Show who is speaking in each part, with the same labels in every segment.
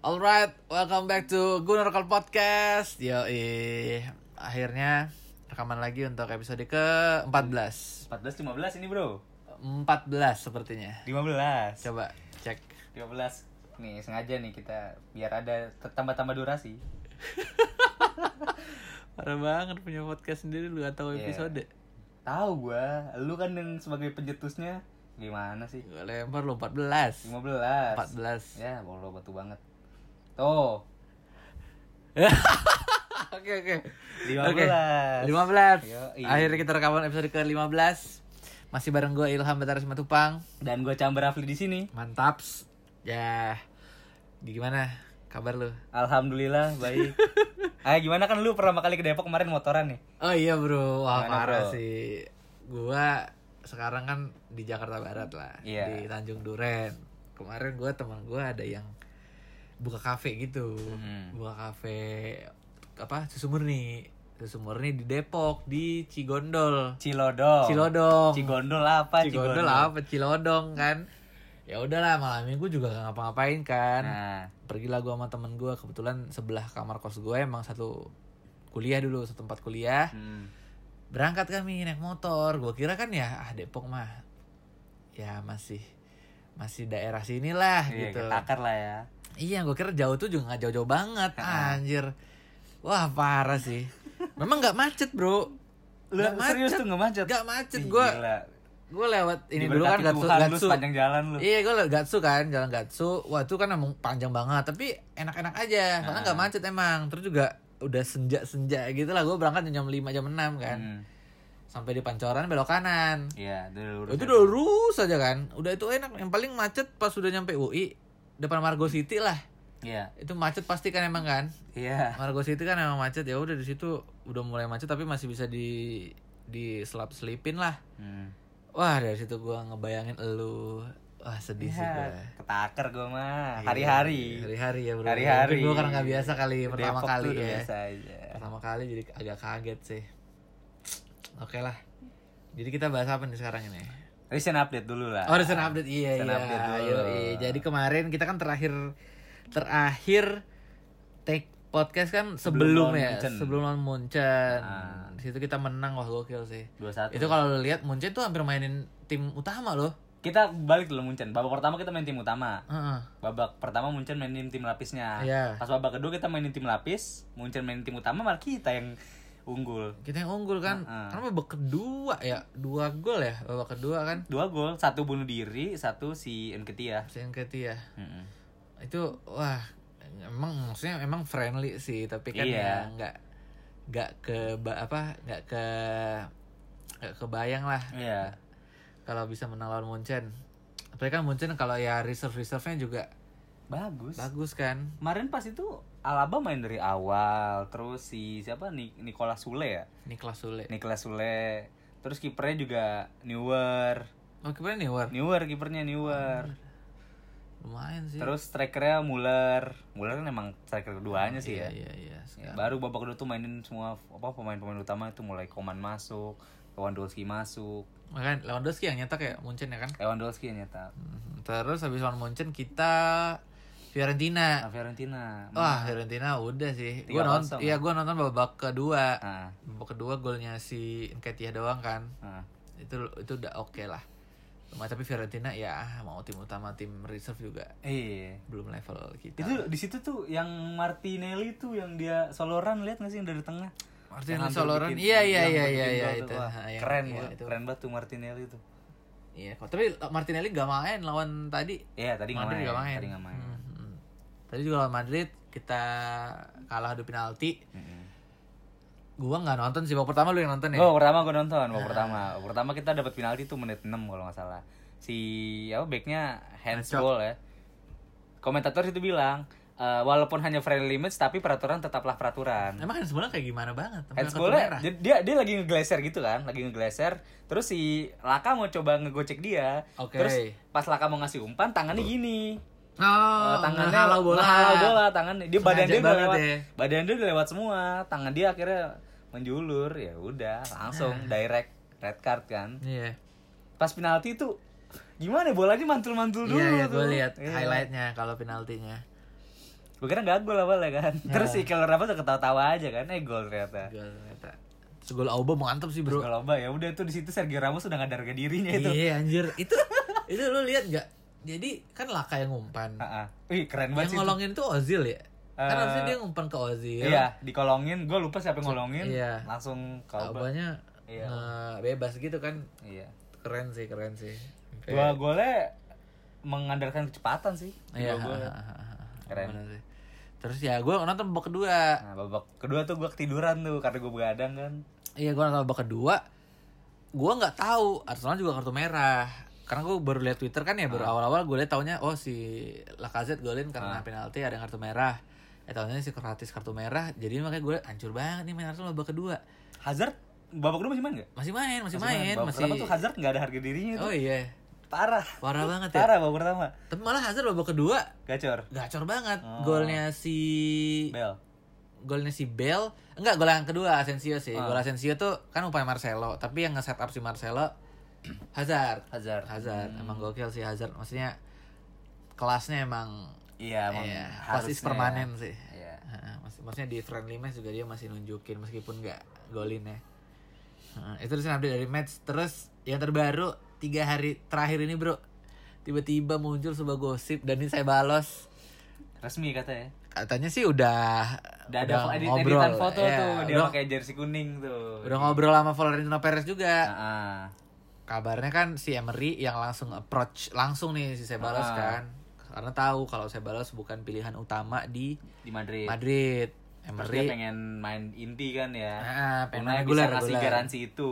Speaker 1: Alright, welcome back to Gunnar Call Podcast. Yo, akhirnya rekaman lagi untuk episode ke-14. 14
Speaker 2: 14 15 ini bro
Speaker 1: sepertinya.
Speaker 2: 15
Speaker 1: Coba cek.
Speaker 2: 15 Nih sengaja nih kita biar ada te- tambah-tambah durasi
Speaker 1: Parah banget punya podcast sendiri lu atau
Speaker 2: Iya. Tahu gua, lu kan yang sebagai pencetusnya gimana sih?
Speaker 1: Gue lempar lu 14.
Speaker 2: 15
Speaker 1: 14.
Speaker 2: Ya bolo batu banget Tuh
Speaker 1: Oke, oke.
Speaker 2: 15
Speaker 1: Oke, 15.
Speaker 2: Yoi.
Speaker 1: Akhirnya kita rekaman episode ke-15. Masih bareng gue Ilham Betaris Matupang.
Speaker 2: Dan gua Chamber Rafli di sini
Speaker 1: Mantaps. Ya. Gimana kabar lu?
Speaker 2: Alhamdulillah baik Ah gimana kan lu pertama kali ke Depok kemarin motoran nih
Speaker 1: Oh iya bro, wah
Speaker 2: Gimana,
Speaker 1: parah
Speaker 2: bro?
Speaker 1: sih. Gua sekarang kan di Jakarta Barat lah,
Speaker 2: Iya.
Speaker 1: di Tanjung Duren. Kemarin gua teman gua ada yang buka kafe gitu,
Speaker 2: Mhm.
Speaker 1: buka kafe apa susu murni, susu murni di Depok di Cigondol,
Speaker 2: Cilodong
Speaker 1: Cilodong.
Speaker 2: Oh. Cigondol apa?
Speaker 1: Cigondol apa Cilodong kan? Ya udahlah malam minggu juga gak ngapa-ngapain kan.
Speaker 2: Nah
Speaker 1: Pergilah gua sama temen gua kebetulan sebelah kamar kos gue emang satu kuliah dulu, satu tempat kuliah
Speaker 2: hmm.
Speaker 1: berangkat kami naik motor gue kira kan ya ah Depok mah ya masih masih daerah sinilah
Speaker 2: Iya,
Speaker 1: gitu
Speaker 2: ketakar lah ya
Speaker 1: iya gue kira jauh tuh juga nggak jauh-jauh banget anjir wah parah sih memang nggak macet bro
Speaker 2: Lu
Speaker 1: Nggak
Speaker 2: serius
Speaker 1: macet.
Speaker 2: tuh gak macet?
Speaker 1: nggak macet
Speaker 2: Ih,
Speaker 1: gue
Speaker 2: gila.
Speaker 1: gue lewat ini dulu kan
Speaker 2: Diberkati
Speaker 1: gatsu
Speaker 2: Tuhan lu
Speaker 1: gatsu
Speaker 2: sepanjang jalan lu.
Speaker 1: iya gue lewat gatsu kan jalan gatsu wah itu kan emang panjang banget tapi enak-enak aja karena nggak macet emang terus juga udah senja-senja gitu lah gue berangkat jam 5 jam 6 kan
Speaker 2: Hmm.
Speaker 1: sampai di pancoran belok kanan
Speaker 2: Iya, itu udah lurus.
Speaker 1: itu udah lurus aja kan udah itu enak yang paling macet pas sudah nyampe UI depan Margo City lah
Speaker 2: Iya.
Speaker 1: itu macet pasti kan emang kan
Speaker 2: Iya.
Speaker 1: Margo City kan emang macet ya udah di situ udah mulai macet tapi masih bisa di di selap selipin lah
Speaker 2: Hmm.
Speaker 1: wah dari situ gua ngebayangin elu wah sedih sih
Speaker 2: Ya,
Speaker 1: gua
Speaker 2: Ketaker gue
Speaker 1: Iya,
Speaker 2: mah hari-hari.
Speaker 1: hari-hari ya bro
Speaker 2: Hari-hari.
Speaker 1: Mungkin gua karena nggak biasa kali pertama
Speaker 2: Depok
Speaker 1: kali
Speaker 2: tuh udah
Speaker 1: ya
Speaker 2: Biasa aja.
Speaker 1: pertama kali jadi agak kaget sih oke lah jadi kita bahas apa nih sekarang ini
Speaker 2: Recent update dulu lah.
Speaker 1: Oh, recent update. Iya,
Speaker 2: Recent
Speaker 1: iya.
Speaker 2: update dulu.
Speaker 1: Yoi. Jadi kemarin kita kan terakhir terakhir take podcast kan sebelum,
Speaker 2: Sebelum lawan
Speaker 1: ya,
Speaker 2: Munchen.
Speaker 1: sebelum lawan Munchen.
Speaker 2: Ah.
Speaker 1: Di situ kita menang wah gokil sih.
Speaker 2: 21.
Speaker 1: Itu kalau lu lihat Munchen tuh hampir mainin tim utama loh.
Speaker 2: Kita balik dulu Munchen. Babak pertama kita main tim utama.
Speaker 1: Heeh.
Speaker 2: Babak pertama Munchen mainin tim lapisnya.
Speaker 1: Iya.
Speaker 2: Pas babak kedua kita mainin tim lapis, Munchen mainin tim utama malah kita yang unggul.
Speaker 1: Kita yang unggul kan.
Speaker 2: Ah, ah.
Speaker 1: Karena babak kedua ya, dua gol ya babak kedua kan.
Speaker 2: Dua gol, satu bunuh diri, satu si Nketiah.
Speaker 1: Sengketi ya.
Speaker 2: Mm-mm.
Speaker 1: Itu wah emang maksudnya emang friendly sih tapi kan
Speaker 2: Iya.
Speaker 1: ya nggak nggak ke ba- apa nggak ke nggak kebayang lah
Speaker 2: Iya.
Speaker 1: kalau bisa menang lawan Munchen. Apalagi kan Munchen kalau ya reserve reserve-nya juga
Speaker 2: Bagus.
Speaker 1: bagus kan.
Speaker 2: Kemarin pas itu Alaba main dari awal, terus si siapa Ni Nicolas Sule ya?
Speaker 1: Niklas Sule.
Speaker 2: Nicolas Sule. Terus kipernya juga Newer.
Speaker 1: Oh kipernya nih War.
Speaker 2: Newer kipernya
Speaker 1: Oh,
Speaker 2: Newer.
Speaker 1: Lumayan sih.
Speaker 2: Terus strikernya Muller. Muller kan emang striker keduanya sih
Speaker 1: Iya
Speaker 2: ya.
Speaker 1: iya iya.
Speaker 2: Ya, Baru babak kedua tuh mainin semua apa pemain-pemain utama itu mulai Koman masuk, Lewandowski masuk. Eh,
Speaker 1: Makan Lewandowski yang nyetak ya Munchen ya kan.
Speaker 2: Lewandowski yang nyetak.
Speaker 1: Mhm. Terus habis lawan Munchen kita Fiorentina.
Speaker 2: Nah, Fiorentina.
Speaker 1: Wah, Fiorentina udah sih. Gua
Speaker 2: 3-0
Speaker 1: nonton, iya gua nonton babak kedua.
Speaker 2: Nah,
Speaker 1: Babak kedua golnya si Nketiah doang kan.
Speaker 2: nah.
Speaker 1: Itu itu udah oke lah. Cuma tapi Fiorentina ya mau tim utama tim reserve juga
Speaker 2: Iya.
Speaker 1: belum level kita.
Speaker 2: itu di situ tuh yang Martinelli tuh yang dia soloran lihat nggak sih yang dari tengah
Speaker 1: Martin
Speaker 2: Yang hampir
Speaker 1: Soloran.
Speaker 2: bikin-
Speaker 1: Iya iya iya
Speaker 2: yang bikin
Speaker 1: iya
Speaker 2: gol
Speaker 1: iya
Speaker 2: tuh.
Speaker 1: itu.
Speaker 2: Wah,
Speaker 1: Ha, yang-
Speaker 2: keren
Speaker 1: iya,
Speaker 2: banget
Speaker 1: itu.
Speaker 2: keren banget tuh Martinelli tuh
Speaker 1: Iya, kok tapi Martinelli gak main lawan tadi.
Speaker 2: iya tadi nggak
Speaker 1: Madrid
Speaker 2: main,
Speaker 1: gak main.
Speaker 2: tadi nggak main
Speaker 1: Mhm. Tadi juga lawan Madrid kita kalah adu penalti.
Speaker 2: Mm-mm.
Speaker 1: Gua nggak nonton sih babak pertama lu yang nonton ya.
Speaker 2: Gol pertama gue nonton, gol pertama. Gol pertama kita dapat penalti tuh menit 6 kalau nggak salah. Si apa backnya handsball ya. Komentator itu bilang, "Eh, walaupun hanya friendly match tapi peraturan tetaplah peraturan.
Speaker 1: Emang kan sebenarnya kayak gimana banget? Sampai kartu merah.
Speaker 2: Handsballnya dia, dia dia lagi ngegleser gitu kan, lagi ngegleser. Terus si Laka mau coba ngegocek dia.
Speaker 1: Oke.
Speaker 2: Terus pas Laka mau ngasih umpan tangannya gini.
Speaker 1: Oh,
Speaker 2: Eh, tangannya
Speaker 1: halau bola.
Speaker 2: ngehalau bola, tangannya dia badan
Speaker 1: Sengaja
Speaker 2: dia udah
Speaker 1: banget
Speaker 2: lewat.
Speaker 1: ya.
Speaker 2: Badan dia udah lewat semua, tangan dia akhirnya menjulur. Ya udah, langsung
Speaker 1: Eh.
Speaker 2: direct red card kan.
Speaker 1: Iya.
Speaker 2: Pas penalti itu gimana bolanya mantul-mantul dulu
Speaker 1: Iya, iya,
Speaker 2: tuh.
Speaker 1: gue lihat
Speaker 2: Iya.
Speaker 1: highlightnya kalau penaltinya.
Speaker 2: gue kira nggak gol awalnya kan
Speaker 1: Nah.
Speaker 2: terus si Keylor Navas udah ketawa-tawa aja kan eh gol ternyata
Speaker 1: Gol ternyata. Terus gol Aubameyang mantep sih, Bro.
Speaker 2: Terus kalau ya udah tuh di situ Sergio Ramos udah nggak ada harga dirinya itu
Speaker 1: Iya, anjir. Itu itu lu lihat nggak? Jadi kan Laka yang ngumpan.
Speaker 2: Ah, ah. Wih keren
Speaker 1: Yang
Speaker 2: banget sih itu.
Speaker 1: ngolongin tuh Ozil ya. Kan
Speaker 2: Eh,
Speaker 1: harusnya dia ngumpan ke Ozil.
Speaker 2: Iya, dikolongin. Gue lupa siapa yang ngolongin.
Speaker 1: Iya.
Speaker 2: Langsung kau.
Speaker 1: Aubameyang
Speaker 2: Iya.
Speaker 1: eh, bebas gitu kan.
Speaker 2: Iya.
Speaker 1: Keren sih, keren sih. Sampai-
Speaker 2: Dua golnya mengandalkan kecepatan sih.
Speaker 1: Iya.
Speaker 2: Dua gol. Keren.
Speaker 1: Bener sih. Terus ya gue nonton babak kedua.
Speaker 2: Nah, babak kedua tuh gue ketiduran tuh karena gue begadang kan.
Speaker 1: Iya gue nonton babak kedua. Gue nggak tahu Arsenal juga kartu merah. Karena gue baru lihat Twitter kan ya baru
Speaker 2: Ah.
Speaker 1: awal-awal gue lihat taunya oh si Lacazette golin karena penalti ada yang kartu merah. Eh tahunya si Kratis kartu merah. Jadi makanya gue hancur banget nih main Arsenal babak kedua.
Speaker 2: Hazard babak kedua masih main gak?
Speaker 1: Masih main, masih, main,
Speaker 2: Babak
Speaker 1: masih.
Speaker 2: pertama tuh Hazard gak ada harga dirinya itu.
Speaker 1: Oh iya.
Speaker 2: Parah.
Speaker 1: Parah banget ya.
Speaker 2: Parah babak pertama.
Speaker 1: Tapi malah Hazard babak kedua
Speaker 2: Gacor.
Speaker 1: gacor banget.
Speaker 2: Ah.
Speaker 1: Golnya si
Speaker 2: Bel.
Speaker 1: golnya si Bell enggak gol yang kedua Asensio sih
Speaker 2: Ah.
Speaker 1: gol Asensio tuh kan upaya Marcelo tapi yang nge-set up si Marcelo Hazard
Speaker 2: Hazard. Hmm.
Speaker 1: Hazard emang gokil sih Hazard maksudnya kelasnya emang
Speaker 2: Iya, emang
Speaker 1: ya, kelas
Speaker 2: harusnya
Speaker 1: is permanen sih
Speaker 2: Iya.
Speaker 1: Heeh, mak- maksudnya di friendly match juga dia masih nunjukin meskipun nggak golin ya Heeh, itu terus update dari match terus yang terbaru tiga hari terakhir ini bro tiba-tiba muncul sebuah gosip dan ini saya balas
Speaker 2: Resmi katanya.
Speaker 1: katanya sih udah Iya,
Speaker 2: Udah ada edit editan foto tuh, dia
Speaker 1: udah,
Speaker 2: pakai jersey kuning tuh.
Speaker 1: udah ngobrol sama Florentino Perez juga
Speaker 2: Heeh.
Speaker 1: kabarnya kan si Emery yang langsung approach langsung nih si Sebalos
Speaker 2: Ah.
Speaker 1: kan karena tahu kalau Sebalos bukan pilihan utama di
Speaker 2: di Madrid.
Speaker 1: Madrid
Speaker 2: Terus Iya. dia
Speaker 1: Emery
Speaker 2: pengen main inti kan ya.
Speaker 1: Ah, pengen
Speaker 2: Karena
Speaker 1: main reguler,
Speaker 2: bisa kasih
Speaker 1: reguler.
Speaker 2: garansi itu.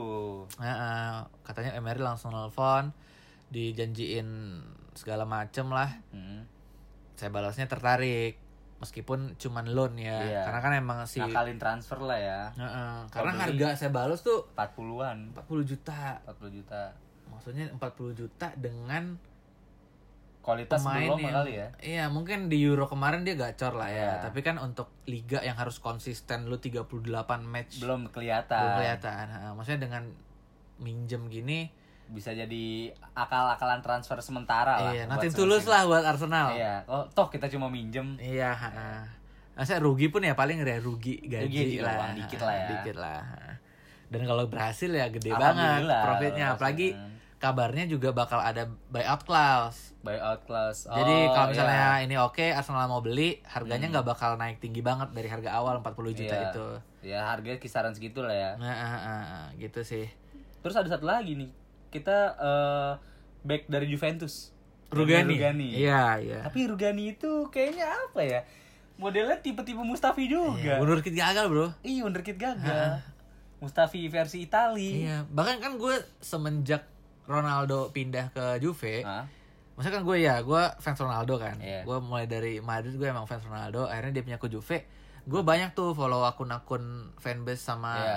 Speaker 1: ah, ah, katanya Emery langsung nelfon dijanjiin segala macem lah
Speaker 2: Hmm.
Speaker 1: Sebalosnya tertarik meskipun cuman loan ya
Speaker 2: Iya.
Speaker 1: karena kan emang si
Speaker 2: Nakalin transfer lah ya.
Speaker 1: Ah, ah, karena
Speaker 2: Kalau beli-
Speaker 1: harga Sebalos tuh
Speaker 2: 40-an,
Speaker 1: 40 juta
Speaker 2: 40 juta.
Speaker 1: maksudnya 40 juta dengan
Speaker 2: Kualitas
Speaker 1: pemain
Speaker 2: belum
Speaker 1: yang
Speaker 2: kali ya.
Speaker 1: Iya, mungkin di Euro kemarin dia gacor lah ya,
Speaker 2: Iya.
Speaker 1: tapi kan untuk liga yang harus konsisten lu 38 match
Speaker 2: Belum kelihatan.
Speaker 1: belum kelihatan. Ha, Maksudnya dengan minjem gini,
Speaker 2: Bisa jadi akal-akalan transfer sementara lah.
Speaker 1: iya,
Speaker 2: buat
Speaker 1: nanti
Speaker 2: semusim.
Speaker 1: tulus lah buat Arsenal. Iya,
Speaker 2: Iya, oh, toh kita cuma minjem.
Speaker 1: ha, ha. Maksudnya rugi pun ya paling ya rugi gaji
Speaker 2: Rugi juga,
Speaker 1: lah,
Speaker 2: uang dikit
Speaker 1: ha,
Speaker 2: lah ya.
Speaker 1: dikit lah, ha. Dan kalau berhasil ya gede banget
Speaker 2: Alhamdulillah,
Speaker 1: profitnya,
Speaker 2: kalau
Speaker 1: apalagi
Speaker 2: berhasil.
Speaker 1: kabarnya juga bakal ada buyout clause.
Speaker 2: Buyout clause. Oh,
Speaker 1: Jadi kalau misalnya
Speaker 2: iya.
Speaker 1: ini oke Arsenal mau beli, harganya nggak bakal naik tinggi banget dari harga awal 40 juta
Speaker 2: Iya.
Speaker 1: itu.
Speaker 2: Ya harga kisaran segitu lah ya.
Speaker 1: Nah, ah, ah, ah, gitu sih.
Speaker 2: Terus ada satu lagi nih. Kita eh, back dari Juventus.
Speaker 1: Rugani.
Speaker 2: Rugani.
Speaker 1: Iya, iya.
Speaker 2: Tapi Rugani itu kayaknya apa ya? Modelnya tipe-tipe Mustafi
Speaker 1: Iya,
Speaker 2: juga.
Speaker 1: Mundur dikit gagal, Bro.
Speaker 2: Iya, wonderkid gagal. Mustafi versi Itali.
Speaker 1: Iya, bahkan kan gue semenjak Ronaldo pindah ke Juve,
Speaker 2: Hah?
Speaker 1: maksudnya kan gue ya, gue fans Ronaldo kan.
Speaker 2: Iya.
Speaker 1: Gue mulai dari Madrid gue emang fans Ronaldo, akhirnya dia pindah ke Juve. Gue banyak tuh follow akun-akun fanbase sama
Speaker 2: Iya.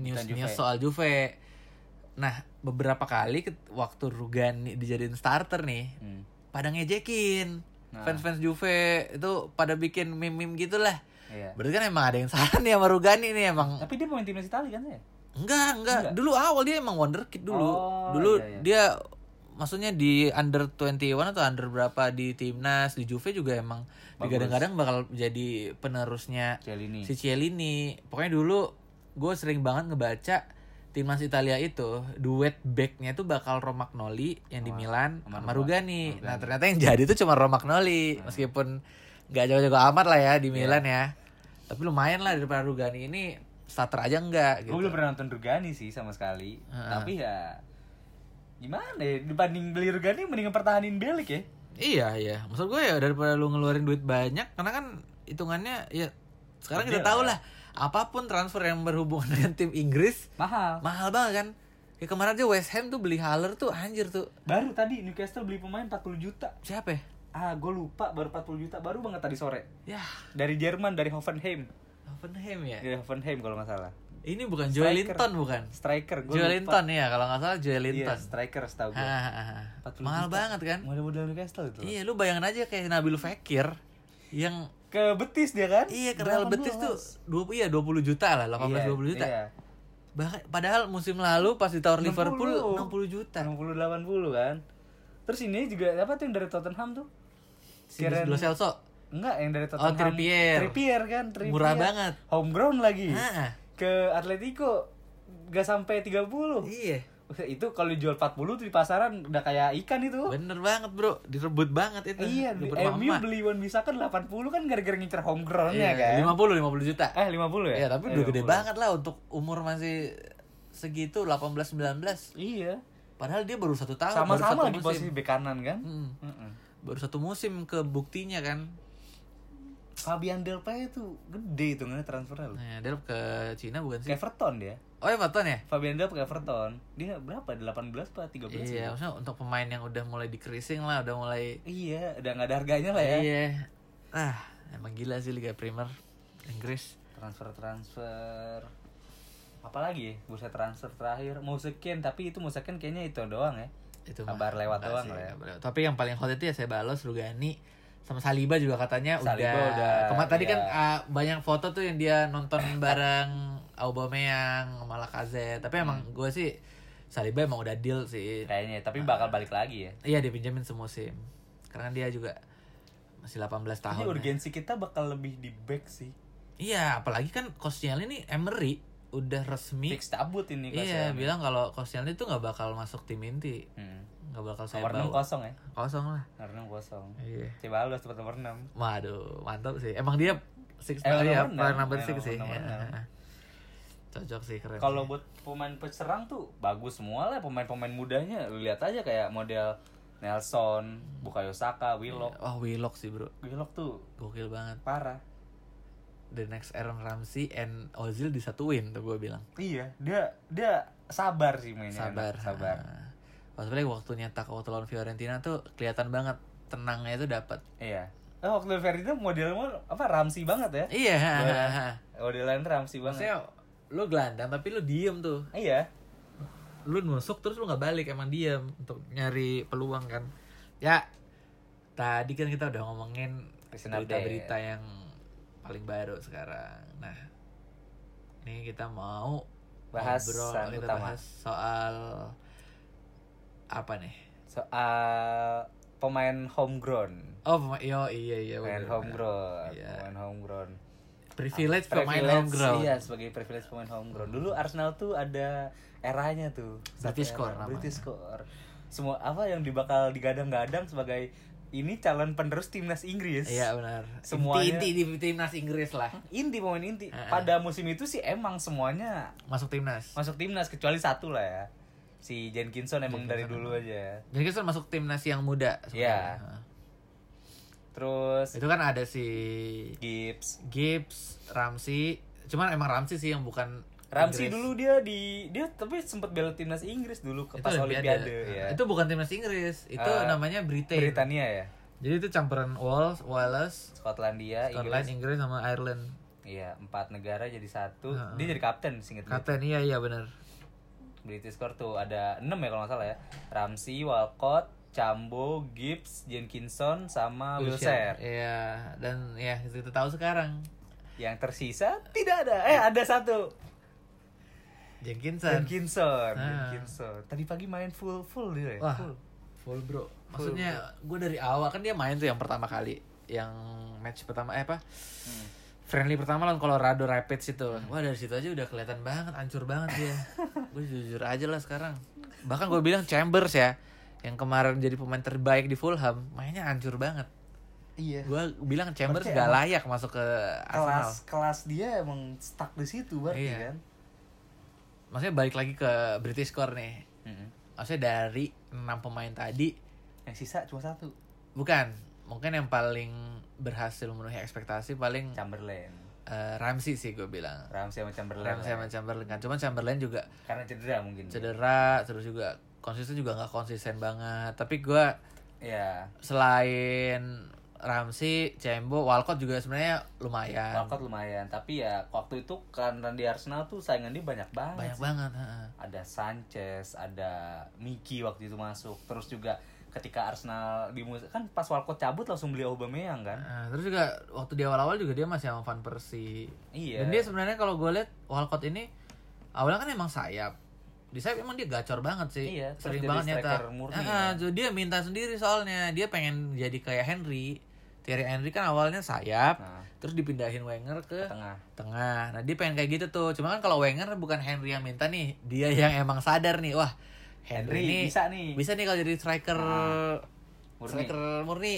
Speaker 1: news
Speaker 2: Tentang Juve.
Speaker 1: news soal Juve. Nah, beberapa kali ket- waktu Rugani dijadiin starter nih,
Speaker 2: Hmm.
Speaker 1: pada ngejekin
Speaker 2: Nah.
Speaker 1: fans-fans Juve itu pada bikin meme-meme gitulah.
Speaker 2: Iya.
Speaker 1: Berarti kan emang ada yang salah nih sama Rugani nih emang.
Speaker 2: Tapi dia pemain timnas Itali kan ya?
Speaker 1: Enggak, enggak. Dulu awal dia emang wonderkid dulu.
Speaker 2: Oh,
Speaker 1: dulu
Speaker 2: iya, iya.
Speaker 1: dia maksudnya di under 21 atau under berapa di timnas di Juve juga emang digadang-gadang bakal jadi penerusnya
Speaker 2: Cialini.
Speaker 1: si Cielini. Pokoknya dulu gue sering banget ngebaca timnas Italia itu duet backnya itu bakal Romagnoli yang di Milan
Speaker 2: Oh, sama
Speaker 1: sama
Speaker 2: Roma-
Speaker 1: Rugani. Nah ternyata yang jadi itu cuma Romagnoli
Speaker 2: Nah.
Speaker 1: meskipun nggak jauh-jauh amat lah ya
Speaker 2: Iya.
Speaker 1: di Milan ya. Tapi lumayan lah daripada Rugani ini starter aja enggak gitu.
Speaker 2: Gue belum pernah nonton Rugani sih sama sekali. Tapi ya gimana ya dibanding beli Rugani mendingan pertahanin Belik ya.
Speaker 1: Iya iya, maksud gue ya daripada lu ngeluarin duit banyak, karena kan hitungannya ya sekarang kita
Speaker 2: ya.
Speaker 1: tahu lah apapun transfer yang berhubungan dengan tim Inggris
Speaker 2: Mahal.
Speaker 1: mahal banget kan. Kayak kemarin aja West Ham tuh beli Haller tuh anjir tuh
Speaker 2: Baru tadi Newcastle beli pemain 40 juta.
Speaker 1: siapa ya?
Speaker 2: Ah, gue lupa baru 40 juta baru banget tadi sore.
Speaker 1: Ya
Speaker 2: Dari Jerman dari Hoffenheim.
Speaker 1: Hoffenheim ya.
Speaker 2: Dari Hoffenheim kalau nggak salah.
Speaker 1: Ini bukan Joelinton bukan?
Speaker 2: Striker gue.
Speaker 1: Joelinton ya kalau nggak salah
Speaker 2: Iya,
Speaker 1: Joelinton.
Speaker 2: striker setahu gue.
Speaker 1: Hahaha.
Speaker 2: 40
Speaker 1: mahal banget kan?
Speaker 2: Model-model Newcastle itu.
Speaker 1: Iya lu bayangin aja kayak Nabil Fekir yang
Speaker 2: Ke Betis dia kan?
Speaker 1: Iya, ke Real Betis tuh 20 iya 20 juta lah, 18 20 juta.
Speaker 2: Iya.
Speaker 1: Bahkan- padahal musim lalu pas ditawar Liverpool 60 juta.
Speaker 2: 60 80 kan. Terus ini juga apa tuh yang dari Tottenham tuh?
Speaker 1: Si Lo Celso.
Speaker 2: enggak yang dari
Speaker 1: Oh,
Speaker 2: Tottenham
Speaker 1: Trippier.
Speaker 2: Trippier kan Trippier.
Speaker 1: Murah banget.
Speaker 2: homegrown lagi
Speaker 1: Ah.
Speaker 2: ke Atletico gak sampai 30
Speaker 1: Iya.
Speaker 2: itu kalau dijual 40 tuh di pasaran udah kayak ikan itu
Speaker 1: Bener banget bro, direbut banget itu.
Speaker 2: Iya, di
Speaker 1: Direbut
Speaker 2: MU
Speaker 1: sama-sama.
Speaker 2: beli Wan Bisa kan 80 kan gara-gara ngincer homegrown ya kan.
Speaker 1: Iya, 50 50 juta.
Speaker 2: Eh 50 ya?
Speaker 1: Iya, tapi
Speaker 2: Eh,
Speaker 1: udah gede
Speaker 2: 50.
Speaker 1: banget lah untuk umur masih segitu 18 19.
Speaker 2: Iya.
Speaker 1: Padahal dia baru satu tahun, baru satu Hmm.
Speaker 2: Sama-sama lagi
Speaker 1: musim.
Speaker 2: posisi bek kanan kan.
Speaker 1: Mm-mm.
Speaker 2: Mm-mm.
Speaker 1: Baru satu musim ke buktinya kan.
Speaker 2: Fabian Delpay itu gede itu nggak transfernya loh.
Speaker 1: Nah, dia ke Cina bukan
Speaker 2: Ke
Speaker 1: sih?
Speaker 2: Everton dia.
Speaker 1: Oh, Everton ya?
Speaker 2: Fabian Delpay ke Everton. Dia berapa? 18 apa 13?
Speaker 1: Iya,
Speaker 2: gitu?
Speaker 1: maksudnya untuk pemain yang udah mulai dikrising lah, udah mulai
Speaker 2: Iya, udah nggak ada harganya lah ya.
Speaker 1: Iya. Ah, emang gila sih Liga Primer Inggris.
Speaker 2: Transfer-transfer apalagi ya bursa transfer terakhir Musekin tapi itu Musekin kayaknya itu doang ya
Speaker 1: Itu mah
Speaker 2: kabar lewat
Speaker 1: enggak
Speaker 2: doang
Speaker 1: sih,
Speaker 2: lah ya
Speaker 1: kabar lewat. Tapi yang paling hot itu ya saya balas Rugani sama Saliba juga katanya
Speaker 2: Saliba
Speaker 1: udah.
Speaker 2: udah,
Speaker 1: Kemarin tadi
Speaker 2: iya.
Speaker 1: kan ah, banyak foto tuh yang dia nonton bareng Aubameyang, sama Lacazette. Tapi emang
Speaker 2: Hmm.
Speaker 1: gue sih Saliba emang udah deal sih.
Speaker 2: kayaknya
Speaker 1: Ah.
Speaker 2: tapi bakal balik lagi ya
Speaker 1: Iya dipinjemin semusim. Karena dia juga masih 18 tahun.
Speaker 2: Ini
Speaker 1: ya.
Speaker 2: urgensi kita bakal lebih di back sih.
Speaker 1: Iya, apalagi kan Koscielny ini Emery udah resmi
Speaker 2: Fix tabut ini
Speaker 1: Iya,
Speaker 2: kasihan. ya.
Speaker 1: bilang kalau Koscielny itu nggak bakal masuk tim inti,
Speaker 2: Hmm.
Speaker 1: nggak bakal saya
Speaker 2: Nomor 6
Speaker 1: bawa.
Speaker 2: kosong ya.
Speaker 1: Kosong lah.
Speaker 2: Nomor 6 kosong.
Speaker 1: Iya.
Speaker 2: Cibalos tempat nomor 6.
Speaker 1: Waduh, mantap sih. Emang dia six
Speaker 2: Emang
Speaker 1: ya,
Speaker 2: Eh, nomor enam.
Speaker 1: player number
Speaker 2: Emang
Speaker 1: six sih.
Speaker 2: nomor
Speaker 1: Ya.
Speaker 2: enam.
Speaker 1: Cocok sih keren.
Speaker 2: Kalau
Speaker 1: sih.
Speaker 2: buat pemain peserang tuh bagus semua lah pemain-pemain mudanya. Lu lihat aja kayak model Nelson, Bukayo Saka, Willock.
Speaker 1: Wah, Oh, Willock sih, Bro.
Speaker 2: Willock tuh
Speaker 1: Gokil banget.
Speaker 2: parah.
Speaker 1: The next Aaron Ramsey and Ozil disatuin tuh gue bilang.
Speaker 2: Iya, dia dia sabar sih mainnya.
Speaker 1: Sabar.
Speaker 2: anak. Iya, Sabar.
Speaker 1: Ah. Maksudnya waktu nyetak waktu lawan Fiorentina tuh kelihatan banget tenangnya itu dapat.
Speaker 2: Iya. Eh waktu Ferdinand modelnya apa Ramsey banget ya.
Speaker 1: Iya.
Speaker 2: Modelan Ramsey banget.
Speaker 1: Maksudnya lu gelandang tapi lu diem tuh.
Speaker 2: Iya.
Speaker 1: lu nusuk terus lu nggak balik emang diam untuk nyari peluang kan ya tadi kan kita udah ngomongin
Speaker 2: Recent update.
Speaker 1: berita-berita yang paling baru sekarang nah ini kita mau
Speaker 2: Bahas
Speaker 1: ngobrol, kita
Speaker 2: utama.
Speaker 1: bahas soal apa nih
Speaker 2: soal ah, pemain homegrown
Speaker 1: oh pema- yo iya iya
Speaker 2: pemain
Speaker 1: bener.
Speaker 2: homegrown
Speaker 1: Iya.
Speaker 2: pemain homegrown
Speaker 1: privilege pemain
Speaker 2: Privilege,
Speaker 1: homegrown
Speaker 2: iya sebagai privilege pemain homegrown dulu Arsenal tuh ada eranya tuh Satu
Speaker 1: British
Speaker 2: era,
Speaker 1: Core namanya.
Speaker 2: British Core semua apa yang dibakal digadang-gadang sebagai ini calon penerus timnas Inggris
Speaker 1: iya benar
Speaker 2: Semuanya-
Speaker 1: inti, inti di timnas Inggris lah
Speaker 2: inti pemain inti
Speaker 1: Heeh.
Speaker 2: pada musim itu sih emang semuanya
Speaker 1: masuk timnas
Speaker 2: masuk timnas kecuali satu lah ya si Jenkinson emang dari dulu aja
Speaker 1: jadi kita masuk timnas yang muda sebenarnya.
Speaker 2: Iya.
Speaker 1: Nah,
Speaker 2: terus
Speaker 1: itu kan ada si
Speaker 2: Gibbs
Speaker 1: Gibbs, Ramsey. Cuman emang Ramsey sih yang bukan Inggris.
Speaker 2: Ramsey dulu dia di dia tapi sempat bela timnas Inggris dulu ke
Speaker 1: Itu
Speaker 2: pas Olimpiade, ya.
Speaker 1: Itu bukan timnas Inggris, itu
Speaker 2: Eh,
Speaker 1: namanya Britain.
Speaker 2: Britania ya,
Speaker 1: Jadi itu campuran Wales, Wales,
Speaker 2: Skotlandia,
Speaker 1: Scotland,
Speaker 2: Inggris.
Speaker 1: Inggris sama Ireland.
Speaker 2: Iya, empat negara jadi satu. Dia jadi kapten singkat gue.
Speaker 1: Kapten iya iya benar.
Speaker 2: British Core tuh ada 6 ya kalau nggak salah ya. Ramsey, Walcott, Cambo, Gibbs, Jenkinson sama Wilshere.
Speaker 1: Iya, dan ya kita tahu sekarang.
Speaker 2: Yang tersisa tidak ada. Eh, ada satu.
Speaker 1: Jenkinson.
Speaker 2: Jenkinson,
Speaker 1: Ah.
Speaker 2: Jenkinson. Tadi pagi main full full dia. ya,
Speaker 1: Wah,
Speaker 2: Full.
Speaker 1: full bro. Maksudnya gue dari awal kan dia main tuh yang pertama kali, yang match pertama eh apa? Friendly pertama lawan Colorado Rapids itu. Wah dari situ aja udah kelihatan banget, hancur banget dia. gue jujur aja lah sekarang. Bahkan gue bilang Chambers ya, yang kemarin jadi pemain terbaik di Fulham, mainnya hancur banget.
Speaker 2: Iya.
Speaker 1: Gue bilang Chambers
Speaker 2: Berarti
Speaker 1: gak
Speaker 2: emang
Speaker 1: layak masuk ke Arsenal.
Speaker 2: Kelas kelas dia emang stuck di situ berarti
Speaker 1: Iya.
Speaker 2: kan.
Speaker 1: Maksudnya balik lagi ke British Core nih.
Speaker 2: Mm-mm.
Speaker 1: Maksudnya dari 6 pemain tadi,
Speaker 2: Yang sisa cuma satu.
Speaker 1: bukan mungkin yang paling berhasil memenuhi ekspektasi paling
Speaker 2: Chamberlain.
Speaker 1: eh, Ramsey sih gue bilang
Speaker 2: Ramsey sama Chamberlain.
Speaker 1: Ramsey sama
Speaker 2: lah ya.
Speaker 1: Chamberlain kan cuman Chamberlain juga
Speaker 2: Karena cedera mungkin.
Speaker 1: cedera terus juga konsisten juga nggak konsisten banget tapi gue
Speaker 2: Iya.
Speaker 1: selain Ramsey, Cembo, Walcott juga sebenarnya lumayan
Speaker 2: Walcott lumayan, tapi ya waktu itu karena di Arsenal tuh saingan dia banyak banget.
Speaker 1: banyak
Speaker 2: sih.
Speaker 1: banget heeh.
Speaker 2: Ada Sanchez, ada Miki waktu itu masuk. Terus juga ketika Arsenal di mus- kan pas Walcott cabut langsung beli Aubameyang kan?
Speaker 1: Eh, terus juga waktu di awal-awal juga dia masih sama Van Persie
Speaker 2: Iya.
Speaker 1: dan dia sebenarnya kalau gue lihat Walcott ini awalnya kan emang sayap di sayap emang dia gacor banget sih
Speaker 2: Iya, terus
Speaker 1: sering
Speaker 2: jadi
Speaker 1: banget
Speaker 2: striker
Speaker 1: nyetak
Speaker 2: murni. ya.
Speaker 1: Ah, ah, jadi dia minta sendiri soalnya dia pengen jadi kayak Henry Thierry Henry kan awalnya sayap,
Speaker 2: Nah.
Speaker 1: terus dipindahin Wenger ke
Speaker 2: tengah
Speaker 1: tengah. Nah, dia pengen kayak gitu tuh. Cuma kan kalau Wenger bukan Henry yang minta nih, dia yang emang sadar nih, wah, Henry, ini
Speaker 2: bisa nih
Speaker 1: bisa nih kalau jadi striker
Speaker 2: murni.
Speaker 1: striker Ah, murni.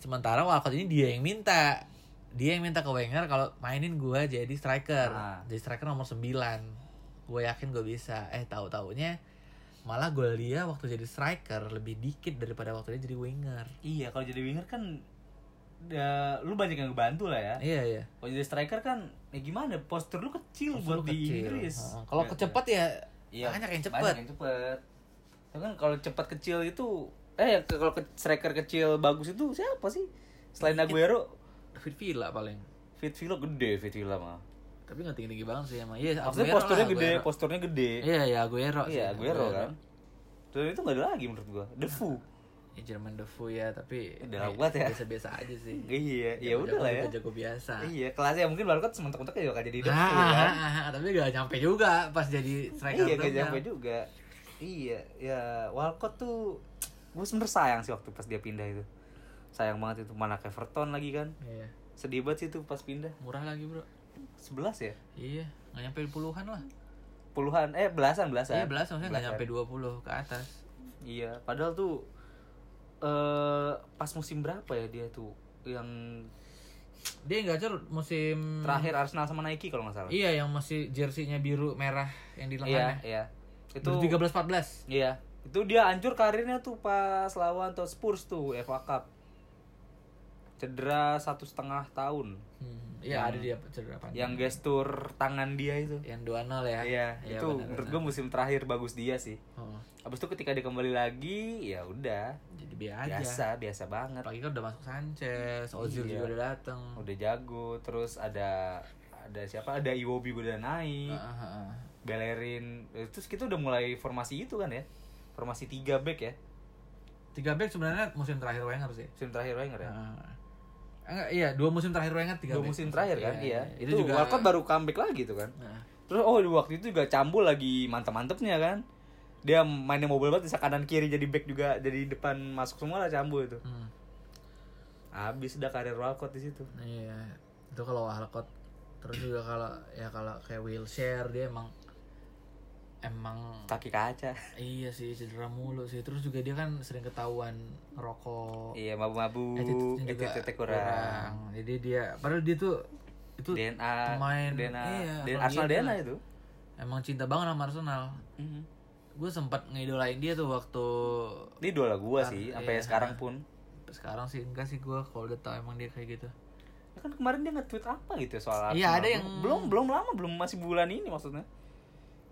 Speaker 1: Sementara Walcott ini dia yang minta. Dia yang minta ke Wenger kalau mainin gua jadi striker.
Speaker 2: Ah.
Speaker 1: Jadi striker nomor 9. Gue yakin gue bisa. Eh, tahu-taunya malah gol dia waktu jadi striker lebih dikit daripada waktu dia jadi winger.
Speaker 2: iya kalau jadi winger kan ya, lu banyak yang ngebantu lah ya
Speaker 1: Iya, iya.
Speaker 2: kalau jadi striker kan ya gimana postur lu kecil
Speaker 1: Terus
Speaker 2: buat
Speaker 1: lu
Speaker 2: di
Speaker 1: kecil.
Speaker 2: Inggris
Speaker 1: Heeh. Kalau
Speaker 2: Ya,
Speaker 1: kecepat ya
Speaker 2: Iya,
Speaker 1: banyak yang
Speaker 2: Banyak
Speaker 1: cepet.
Speaker 2: yang cepet. Tapi kan kalau cepat kecil itu eh ke- kalau ke- striker kecil bagus itu siapa sih? Selain Aguero,
Speaker 1: Fit Villa paling.
Speaker 2: Fit Villa gede, Fit Villa mah.
Speaker 1: Tapi nggak tinggi-tinggi banget sih emang. Iya,
Speaker 2: Maksudnya
Speaker 1: Aguero
Speaker 2: posturnya
Speaker 1: lah,
Speaker 2: gede,
Speaker 1: Aguero.
Speaker 2: posturnya gede.
Speaker 1: Iya, ya Aguero sih.
Speaker 2: Iya, Aguero kan. Dan itu gak ada lagi menurut gua. Defu.
Speaker 1: Ya, Jerman Defoe ya, tapi
Speaker 2: Udah kuat ya.
Speaker 1: Biasa-biasa aja sih. Ah,
Speaker 2: Iya, ya udah lah ya.
Speaker 1: Jago biasa.
Speaker 2: Iya, kelasnya mungkin baru kan sementok-mentok juga jadi Defu
Speaker 1: Ah,
Speaker 2: kan.
Speaker 1: ah, ah, ah, tapi gak nyampe juga pas jadi striker
Speaker 2: Iya, gak
Speaker 1: berenang.
Speaker 2: nyampe juga. Iya, ya Walcott tuh gue sebenernya sayang sih waktu pas dia pindah itu. Sayang banget itu mana ke Everton lagi kan.
Speaker 1: Iya.
Speaker 2: Sedih banget sih itu pas pindah.
Speaker 1: Murah lagi, Bro.
Speaker 2: 11 ya?
Speaker 1: Iya, gak nyampe puluhan lah.
Speaker 2: Puluhan, eh belasan, belasan.
Speaker 1: Iya, belas maksudnya gak nyampe 20 ke atas.
Speaker 2: Iya, padahal tuh eh pas musim berapa ya dia tuh yang
Speaker 1: Dia yang gacor musim
Speaker 2: terakhir Arsenal sama Nike kalau nggak salah.
Speaker 1: Hmm. Iya, yang masih jersinya biru merah yang di
Speaker 2: iya,
Speaker 1: lengan. ya.
Speaker 2: iya. Itu
Speaker 1: Itu 13 14.
Speaker 2: Iya. Itu dia hancur karirnya tuh pas lawan tuh Spurs tuh FA Cup. Cedera satu setengah tahun.
Speaker 1: Hmm, iya ada dia cedera panjang.
Speaker 2: Yang gestur tangan dia itu.
Speaker 1: Yang 2-0 ya.
Speaker 2: Iya, itu
Speaker 1: benar,
Speaker 2: menurut
Speaker 1: benar.
Speaker 2: gue musim terakhir bagus dia sih.
Speaker 1: Oh,
Speaker 2: Abis itu ketika dia kembali lagi, ya udah
Speaker 1: jadi biasa.
Speaker 2: biasa, biasa banget.
Speaker 1: Apalagi kan udah masuk Sanchez, Ozil
Speaker 2: Iya.
Speaker 1: juga udah dateng.
Speaker 2: udah jago terus ada ada siapa ada Iwobi udah naik
Speaker 1: Ah, ah, ah.
Speaker 2: Bellerin Eh, terus kita udah mulai formasi itu kan ya formasi tiga back ya
Speaker 1: Tiga back sebenarnya musim terakhir Wenger sih.
Speaker 2: musim terakhir Wenger ya
Speaker 1: Ah. Enggak, iya dua musim terakhir Wenger tiga
Speaker 2: dua
Speaker 1: back.
Speaker 2: musim terakhir kan iya,
Speaker 1: Itu,
Speaker 2: itu,
Speaker 1: juga
Speaker 2: Walcott baru comeback lagi tuh kan
Speaker 1: Nah,
Speaker 2: terus oh di waktu itu juga cambul lagi mantep-mantepnya kan dia mainnya mobil banget bisa kanan kiri jadi back juga jadi depan masuk semua lah cambul itu
Speaker 1: hmm,
Speaker 2: habis udah karir Walcott di situ
Speaker 1: iya. Itu kalau Walcott terus juga kalau ya kalau kayak wheelchair dia emang emang
Speaker 2: kaki kaca
Speaker 1: Iya sih cedera mulu sih. Terus juga dia kan sering ketahuan ngerokok.
Speaker 2: iya mabu-mabu
Speaker 1: Attitude-nya juga
Speaker 2: attitude kurang
Speaker 1: Jadi dia padahal dia tuh itu
Speaker 2: DNA
Speaker 1: pemain-
Speaker 2: DNA,
Speaker 1: iya,
Speaker 2: DNA
Speaker 1: kalau
Speaker 2: Arsenal
Speaker 1: gitu
Speaker 2: DNA
Speaker 1: lah.
Speaker 2: itu
Speaker 1: emang cinta banget sama Arsenal. Mhm. Gue sempat ngidolain dia tuh waktu
Speaker 2: Ini idola gua sih,
Speaker 1: Iya.
Speaker 2: sampai sekarang pun.
Speaker 1: Sampai sekarang sih enggak sih gue kalau udah tau emang dia kayak gitu.
Speaker 2: Ya kan kemarin dia nge-tweet apa gitu ya soal
Speaker 1: Iya,
Speaker 2: Arsenal.
Speaker 1: ada yang-
Speaker 2: belum belum lama, belum masih bulan ini maksudnya.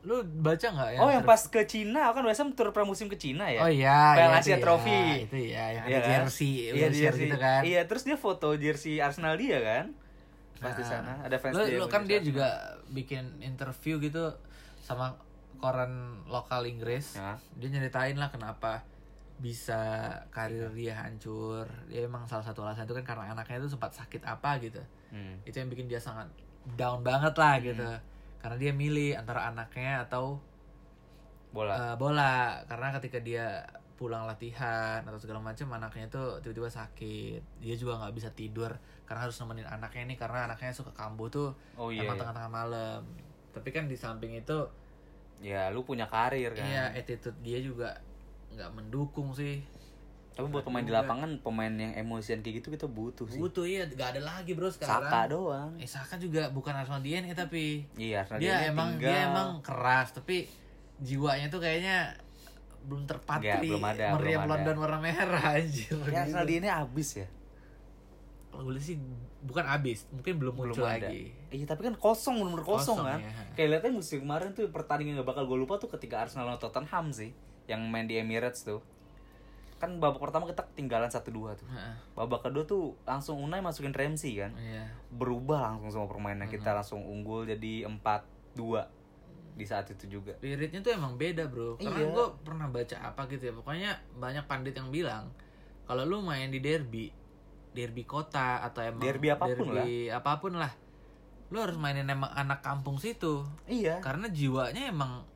Speaker 1: Lu baca nggak
Speaker 2: oh, yang pas ke Cina, kan biasa tur pramusim ke Cina
Speaker 1: Iya,
Speaker 2: ya.
Speaker 1: Oh iya,
Speaker 2: Piala
Speaker 1: iya,
Speaker 2: Asia
Speaker 1: itu
Speaker 2: Trophy.
Speaker 1: Ya, itu ya yang ada
Speaker 2: kan?
Speaker 1: jersey,
Speaker 2: iya,
Speaker 1: wheelchair
Speaker 2: jersey.
Speaker 1: gitu kan.
Speaker 2: Iya, terus dia foto jersey Arsenal dia kan. Pas di
Speaker 1: Nah,
Speaker 2: sana ada fans
Speaker 1: lu,
Speaker 2: dia.
Speaker 1: lu
Speaker 2: yang
Speaker 1: kan
Speaker 2: jersey
Speaker 1: dia
Speaker 2: Arsenal.
Speaker 1: juga bikin interview gitu sama koran lokal Inggris
Speaker 2: Ya.
Speaker 1: dia nyeritain lah kenapa bisa karir dia hancur dia emang salah satu alasan itu kan karena anaknya itu sempat sakit apa gitu
Speaker 2: Hmm.
Speaker 1: itu yang bikin dia sangat down banget lah gitu karena dia milih antara anaknya atau
Speaker 2: Bola.
Speaker 1: eh, bola karena ketika dia pulang latihan atau segala macam anaknya itu tiba-tiba sakit dia juga nggak bisa tidur karena harus nemenin anaknya nih karena anaknya suka kambuh tuh
Speaker 2: oh iya.
Speaker 1: emang
Speaker 2: iya.
Speaker 1: tengah-tengah malam tapi kan di samping itu
Speaker 2: Ya, lu punya karir kan.
Speaker 1: iya attitude dia juga nggak mendukung sih
Speaker 2: Tapi buat pemain di
Speaker 1: Juga.
Speaker 2: lapangan, pemain yang emosian kayak gitu kita butuh sih.
Speaker 1: butuh iya nggak ada lagi bro
Speaker 2: Saka
Speaker 1: sekarang
Speaker 2: doang.
Speaker 1: eh Saka juga bukan Arsenal DNA tapi
Speaker 2: Iya, Arsenal
Speaker 1: dia
Speaker 2: DNA
Speaker 1: emang dia
Speaker 2: tinggal.
Speaker 1: emang keras tapi jiwanya tuh kayaknya belum terpatri
Speaker 2: Nggak, belum ada,
Speaker 1: meriam
Speaker 2: belum ada.
Speaker 1: London warna merah anjir
Speaker 2: Ya,
Speaker 1: gitu.
Speaker 2: Arsenal DNA abis ya.
Speaker 1: kalau gue lihat sih bukan abis mungkin belum
Speaker 2: belum
Speaker 1: muncul
Speaker 2: ada.
Speaker 1: lagi
Speaker 2: Iya tapi kan kosong bener-bener kosong,
Speaker 1: Kosong,
Speaker 2: kan.
Speaker 1: ya.
Speaker 2: Kayak liatnya musim kemarin tuh pertandingan gak bakal gue lupa tuh ketika Arsenal lawan Tottenham sih, yang main di Emirates tuh. Kan babak pertama kita ketinggalan 1-2 tuh.
Speaker 1: Heeh,
Speaker 2: Babak kedua tuh langsung Unai masukin Ramsey kan.
Speaker 1: iya
Speaker 2: Berubah langsung semua permainan kita langsung unggul jadi 4-2 di saat itu juga.
Speaker 1: spiritnya tuh emang beda bro karena
Speaker 2: Iya.
Speaker 1: gue pernah baca apa gitu ya pokoknya banyak pandit yang bilang kalau lu main di derby derby kota atau emang
Speaker 2: Derby apapun
Speaker 1: derby apapun lah lu harus mainin emang anak kampung situ
Speaker 2: Iya.
Speaker 1: karena jiwanya emang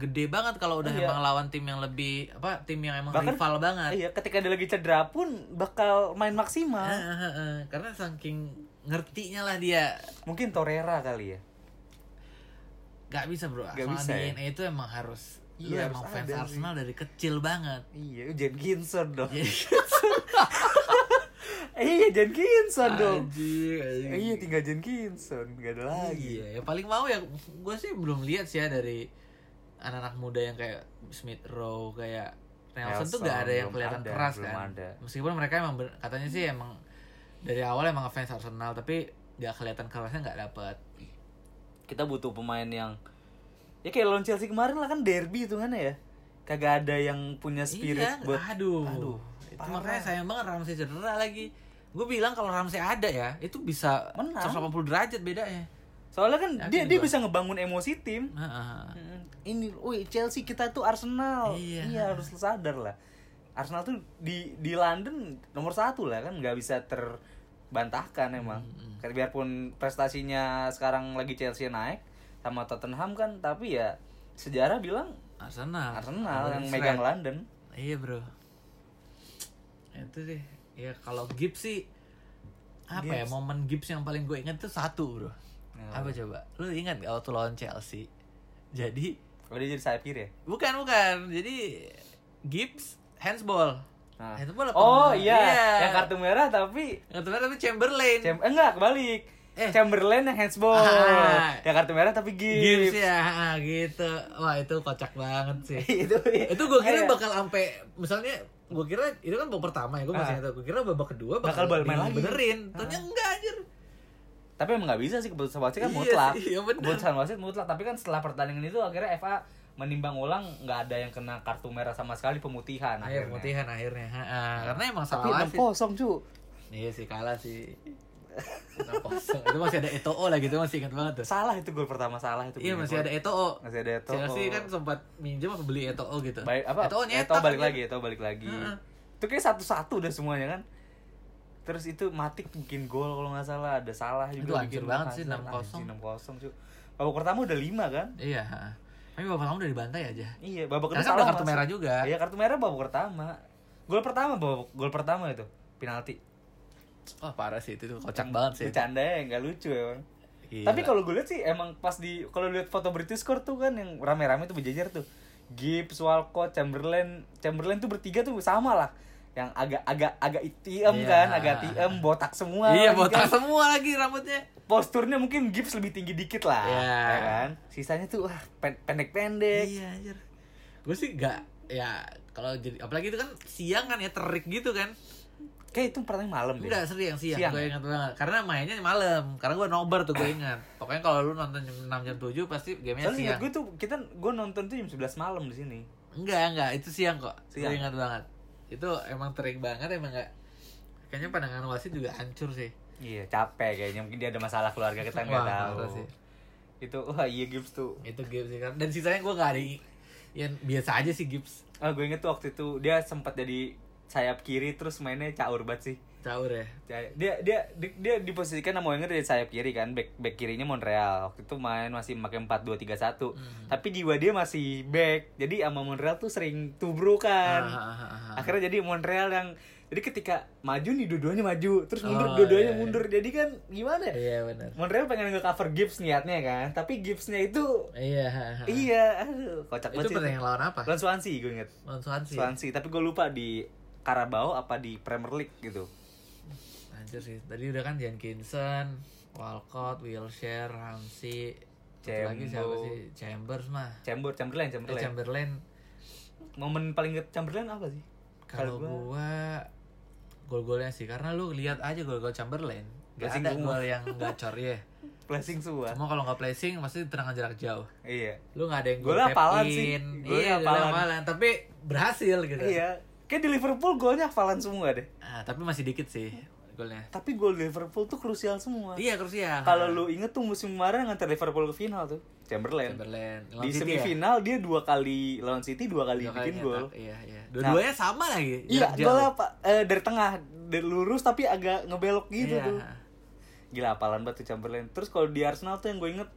Speaker 1: gede banget kalau udah
Speaker 2: Iya.
Speaker 1: emang lawan tim yang lebih apa tim yang emang
Speaker 2: Bahkan-
Speaker 1: rival banget.
Speaker 2: Iya, ketika dia lagi cedera pun bakal main maksimal.
Speaker 1: Ah, ah, ah. Karena saking ngertinya lah dia
Speaker 2: Mungkin Torreira kali ya.
Speaker 1: Gak bisa bro,
Speaker 2: Gak
Speaker 1: Arsenal
Speaker 2: bisa ya?
Speaker 1: DNA itu emang harus Lu
Speaker 2: Iya,
Speaker 1: emang
Speaker 2: harus
Speaker 1: fans
Speaker 2: ada sih.
Speaker 1: Arsenal dari kecil banget
Speaker 2: Iya, Jen Ginson dong.
Speaker 1: Jadi
Speaker 2: iya, Jen Ginson dong.
Speaker 1: anjing, anjing.
Speaker 2: Iya, tinggal Jen Ginson, gak ada lagi.
Speaker 1: Iya, ya paling mau ya gue sih belum lihat sih ya dari anak-anak muda yang kayak Smith Rowe kayak Nelson, tuh
Speaker 2: Nelson,
Speaker 1: gak ada yang
Speaker 2: belum
Speaker 1: kelihatan
Speaker 2: ada,
Speaker 1: keras
Speaker 2: belum
Speaker 1: kan.
Speaker 2: ada.
Speaker 1: Meskipun mereka emang ber- katanya sih emang dari awal emang fans Arsenal tapi gak kelihatan kerasnya nggak dapet.
Speaker 2: Iya, Kita butuh pemain yang ya kayak lawan Chelsea kemarin lah kan derby itu kan ya. Kagak ada yang punya spirit
Speaker 1: iya,
Speaker 2: buat
Speaker 1: aduh.
Speaker 2: Aduh,
Speaker 1: itu
Speaker 2: parah.
Speaker 1: makanya sayang banget Ramsey cedera lagi. Gue bilang kalau Ramsey ada ya, itu bisa
Speaker 2: Menang.
Speaker 1: 180 derajat bedanya.
Speaker 2: Soalnya kan
Speaker 1: Yakin
Speaker 2: dia dia
Speaker 1: gua.
Speaker 2: bisa ngebangun emosi tim.
Speaker 1: Heeh.
Speaker 2: Ini, woi Chelsea kita tuh Arsenal.
Speaker 1: Iya.
Speaker 2: harus sadar lah. Arsenal tuh di di London nomor satu lah kan nggak bisa terbantahkan emang. Kayak Biarpun prestasinya sekarang lagi Chelsea naik sama Tottenham kan, tapi ya sejarah bilang
Speaker 1: Arsenal.
Speaker 2: Arsenal
Speaker 1: Arsenal.
Speaker 2: yang megang London.
Speaker 1: Iya bro Itu sih Ya kalau Gibbs sih Apa ya momen Gibbs yang paling gue inget tuh satu bro Apa coba Lu ingat gak waktu lawan Chelsea Jadi
Speaker 2: Kalau dia jadi sayap kiri ya?
Speaker 1: Bukan bukan Jadi Gibbs Handsball
Speaker 2: Nah.
Speaker 1: Handsball apa
Speaker 2: Oh
Speaker 1: enggak?
Speaker 2: iya, yang kartu merah tapi
Speaker 1: Yang kemarin tapi Chamberlain
Speaker 2: Cham- eh, enggak kebalik.
Speaker 1: Eh.
Speaker 2: Chamberlain yang handsball.
Speaker 1: Ah.
Speaker 2: Yang kartu merah tapi
Speaker 1: Gibbs
Speaker 2: Gibbs.
Speaker 1: ya ah, gitu Wah itu kocak banget sih
Speaker 2: itu iya.
Speaker 1: Itu gue kira
Speaker 2: Kayak-
Speaker 1: bakal sampai Misalnya gue kira itu kan babak pertama ya gue masih
Speaker 2: Ah.
Speaker 1: ingat gue kira babak kedua
Speaker 2: Bakal balik main lagi. Ah.
Speaker 1: benerin ternyata enggak anjir
Speaker 2: tapi emang nggak bisa sih keputusan wasit kan
Speaker 1: Iya
Speaker 2: mutlak
Speaker 1: sih, iya bener.
Speaker 2: keputusan wasit mutlak tapi kan setelah pertandingan itu akhirnya FA menimbang ulang nggak ada yang kena kartu merah sama sekali pemutihan
Speaker 1: Akhir
Speaker 2: akhirnya Ah.
Speaker 1: pemutihan akhirnya. Ha, ha. karena emang
Speaker 2: tapi
Speaker 1: salah
Speaker 2: enam
Speaker 1: wasit.
Speaker 2: kosong cu
Speaker 1: Iya sih kalah sih. 6-0. itu masih ada Eto'o lagi itu masih ingat banget tuh.
Speaker 2: salah itu gol pertama salah itu
Speaker 1: Iya
Speaker 2: Gol.
Speaker 1: masih ada Eto'o.
Speaker 2: masih ada Eto'o.
Speaker 1: Chelsea kan sempat minjem apa beli Eto'o gitu.
Speaker 2: baik apa
Speaker 1: Eto'o nyetak.
Speaker 2: Eto'o balik
Speaker 1: anjir.
Speaker 2: lagi Eto'o balik lagi
Speaker 1: Heeh.
Speaker 2: itu kayak satu satu udah semuanya kan terus itu Matik bikin gol kalau nggak salah ada salah
Speaker 1: Itu
Speaker 2: juga
Speaker 1: hancur
Speaker 2: bikin
Speaker 1: banget sih,
Speaker 2: Hazard.
Speaker 1: 6-0.
Speaker 2: Anjing, 6-0 cu babak pertama udah lima kan
Speaker 1: Iya, ha. Tapi bapak kamu udah dibantai aja.
Speaker 2: Iya, babak
Speaker 1: Karena kan
Speaker 2: kedua salah
Speaker 1: udah kartu
Speaker 2: masuk.
Speaker 1: merah juga.
Speaker 2: Iya, kartu merah babak pertama. Gol pertama babak gol pertama itu penalti.
Speaker 1: Wah, parah sih itu tuh kocak banget sih.
Speaker 2: Bercanda ya, nggak lucu emang.
Speaker 1: Gila.
Speaker 2: Tapi kalau gue lihat sih emang pas di kalau lihat foto British Score tuh kan yang rame-rame tuh berjejer tuh. Gibbs, Walcott, Chamberlain, Chamberlain tuh bertiga tuh sama lah. Yang agak agak agak tiem
Speaker 1: Iya.
Speaker 2: kan, agak tiem, botak semua.
Speaker 1: Iya,
Speaker 2: lagi
Speaker 1: botak
Speaker 2: kan.
Speaker 1: semua lagi rambutnya.
Speaker 2: Posturnya mungkin Gibbs lebih tinggi dikit lah,
Speaker 1: Iya.
Speaker 2: ya kan? Sisanya tuh wah, pen- pendek-pendek.
Speaker 1: Iya, anjir. Gue sih gak ya kalau jadi apalagi itu kan siang kan ya terik gitu kan.
Speaker 2: Kayak itu pertandingan malam deh.
Speaker 1: Enggak, serius yang siang,
Speaker 2: Iya. Siang,
Speaker 1: gue
Speaker 2: ya? Ah.
Speaker 1: ingat banget Karena mainnya malam, karena gue nobar tuh gue ingat Pokoknya kalau lu nonton jam 6 jam 7 pasti gamenya
Speaker 2: Soalnya
Speaker 1: siang
Speaker 2: ingat gue tuh kita gue nonton tuh jam 11 malam di sini.
Speaker 1: Enggak, enggak, itu siang kok
Speaker 2: Siang.
Speaker 1: Gue ingat banget Itu emang terik banget, emang enggak Kayaknya pandangan wasit juga hancur sih
Speaker 2: Iya, capek kayaknya mungkin dia ada masalah keluarga kita nggak
Speaker 1: Wah,
Speaker 2: tahu.
Speaker 1: parah sih.
Speaker 2: Itu wah iya Gibbs tuh.
Speaker 1: Itu Gibbs sih kan Dan sisanya gue gak ada yang biasa aja sih Gibbs
Speaker 2: Ah, gue inget tuh waktu itu dia sempat jadi sayap kiri terus mainnya caur banget sih.
Speaker 1: Caur ya
Speaker 2: Dia dia dia, di- dia diposisikan sama Wenger dari sayap kiri kan, back back kirinya Montreal. Waktu itu main masih pakai 4-2-3-1. Tapi jiwa dia masih back. Jadi sama Montreal tuh sering tubrukan.
Speaker 1: Ah, ah, ah, ah.
Speaker 2: akhirnya jadi Montreal yang jadi ketika maju nih dua-duanya maju terus mundur
Speaker 1: Oh, iya,
Speaker 2: dua-duanya
Speaker 1: iya.
Speaker 2: mundur jadi kan gimana ya
Speaker 1: Iya bener
Speaker 2: Montreal pengen nge-cover Gibbs niatnya kan tapi Gibbsnya itu
Speaker 1: Iya ha, ha.
Speaker 2: iya aduh kocak
Speaker 1: Itu
Speaker 2: banget sih
Speaker 1: pertandingan lawan apa?
Speaker 2: lawan Swansea gue inget
Speaker 1: Lawan Swansea ya?
Speaker 2: Swansea tapi gue lupa di Carabao apa di Premier League gitu
Speaker 1: Anjir sih. Tadi udah kan Jenkinson, Walcott, Wilshere, Ramsey, satu lagi siapa
Speaker 2: Chambo.
Speaker 1: sih? Chambers mah.
Speaker 2: Chamber Chamberlain
Speaker 1: Eh,
Speaker 2: Chamberlain
Speaker 1: Chamberlain.
Speaker 2: momen paling inget Chamberlain apa sih
Speaker 1: Kalau gua gol-golnya sih karena lu lihat aja gol-gol Chamberlain. Gak
Speaker 2: Placing
Speaker 1: ada
Speaker 2: semua.
Speaker 1: gol yang gacor ya.
Speaker 2: flashing semua
Speaker 1: Cuma kalau nggak placing pasti tendangan jarak jauh.
Speaker 2: iya
Speaker 1: Lu nggak ada yang
Speaker 2: Golnya
Speaker 1: tap
Speaker 2: apalan
Speaker 1: in.
Speaker 2: sih. Golnya
Speaker 1: Iya, golnya
Speaker 2: apalan.
Speaker 1: apalan. Tapi berhasil gitu.
Speaker 2: iya kayak di Liverpool golnya hafalan semua deh
Speaker 1: Ah, tapi masih dikit sih golnya.
Speaker 2: tapi gol Liverpool tuh krusial semua
Speaker 1: Iya, krusial.
Speaker 2: Kalau lu inget tuh musim kemarin ngantar Liverpool ke final tuh, Chamberlain.
Speaker 1: Chamberlain
Speaker 2: Di
Speaker 1: Lawan City ya?
Speaker 2: semifinal dia dua kali lawan City, dua kali
Speaker 1: Dua kali
Speaker 2: bikin
Speaker 1: nyetak,
Speaker 2: gol. Nah.
Speaker 1: Iya, iya. Dua-duanya sama lagi.
Speaker 2: Iya,
Speaker 1: jarak jauh.
Speaker 2: gol apa? Eh, dari tengah, dari lurus tapi agak ngebelok gitu
Speaker 1: Iya.
Speaker 2: tuh. Gila apalan banget tuh Chamberlain. Terus kalau di Arsenal tuh yang gue inget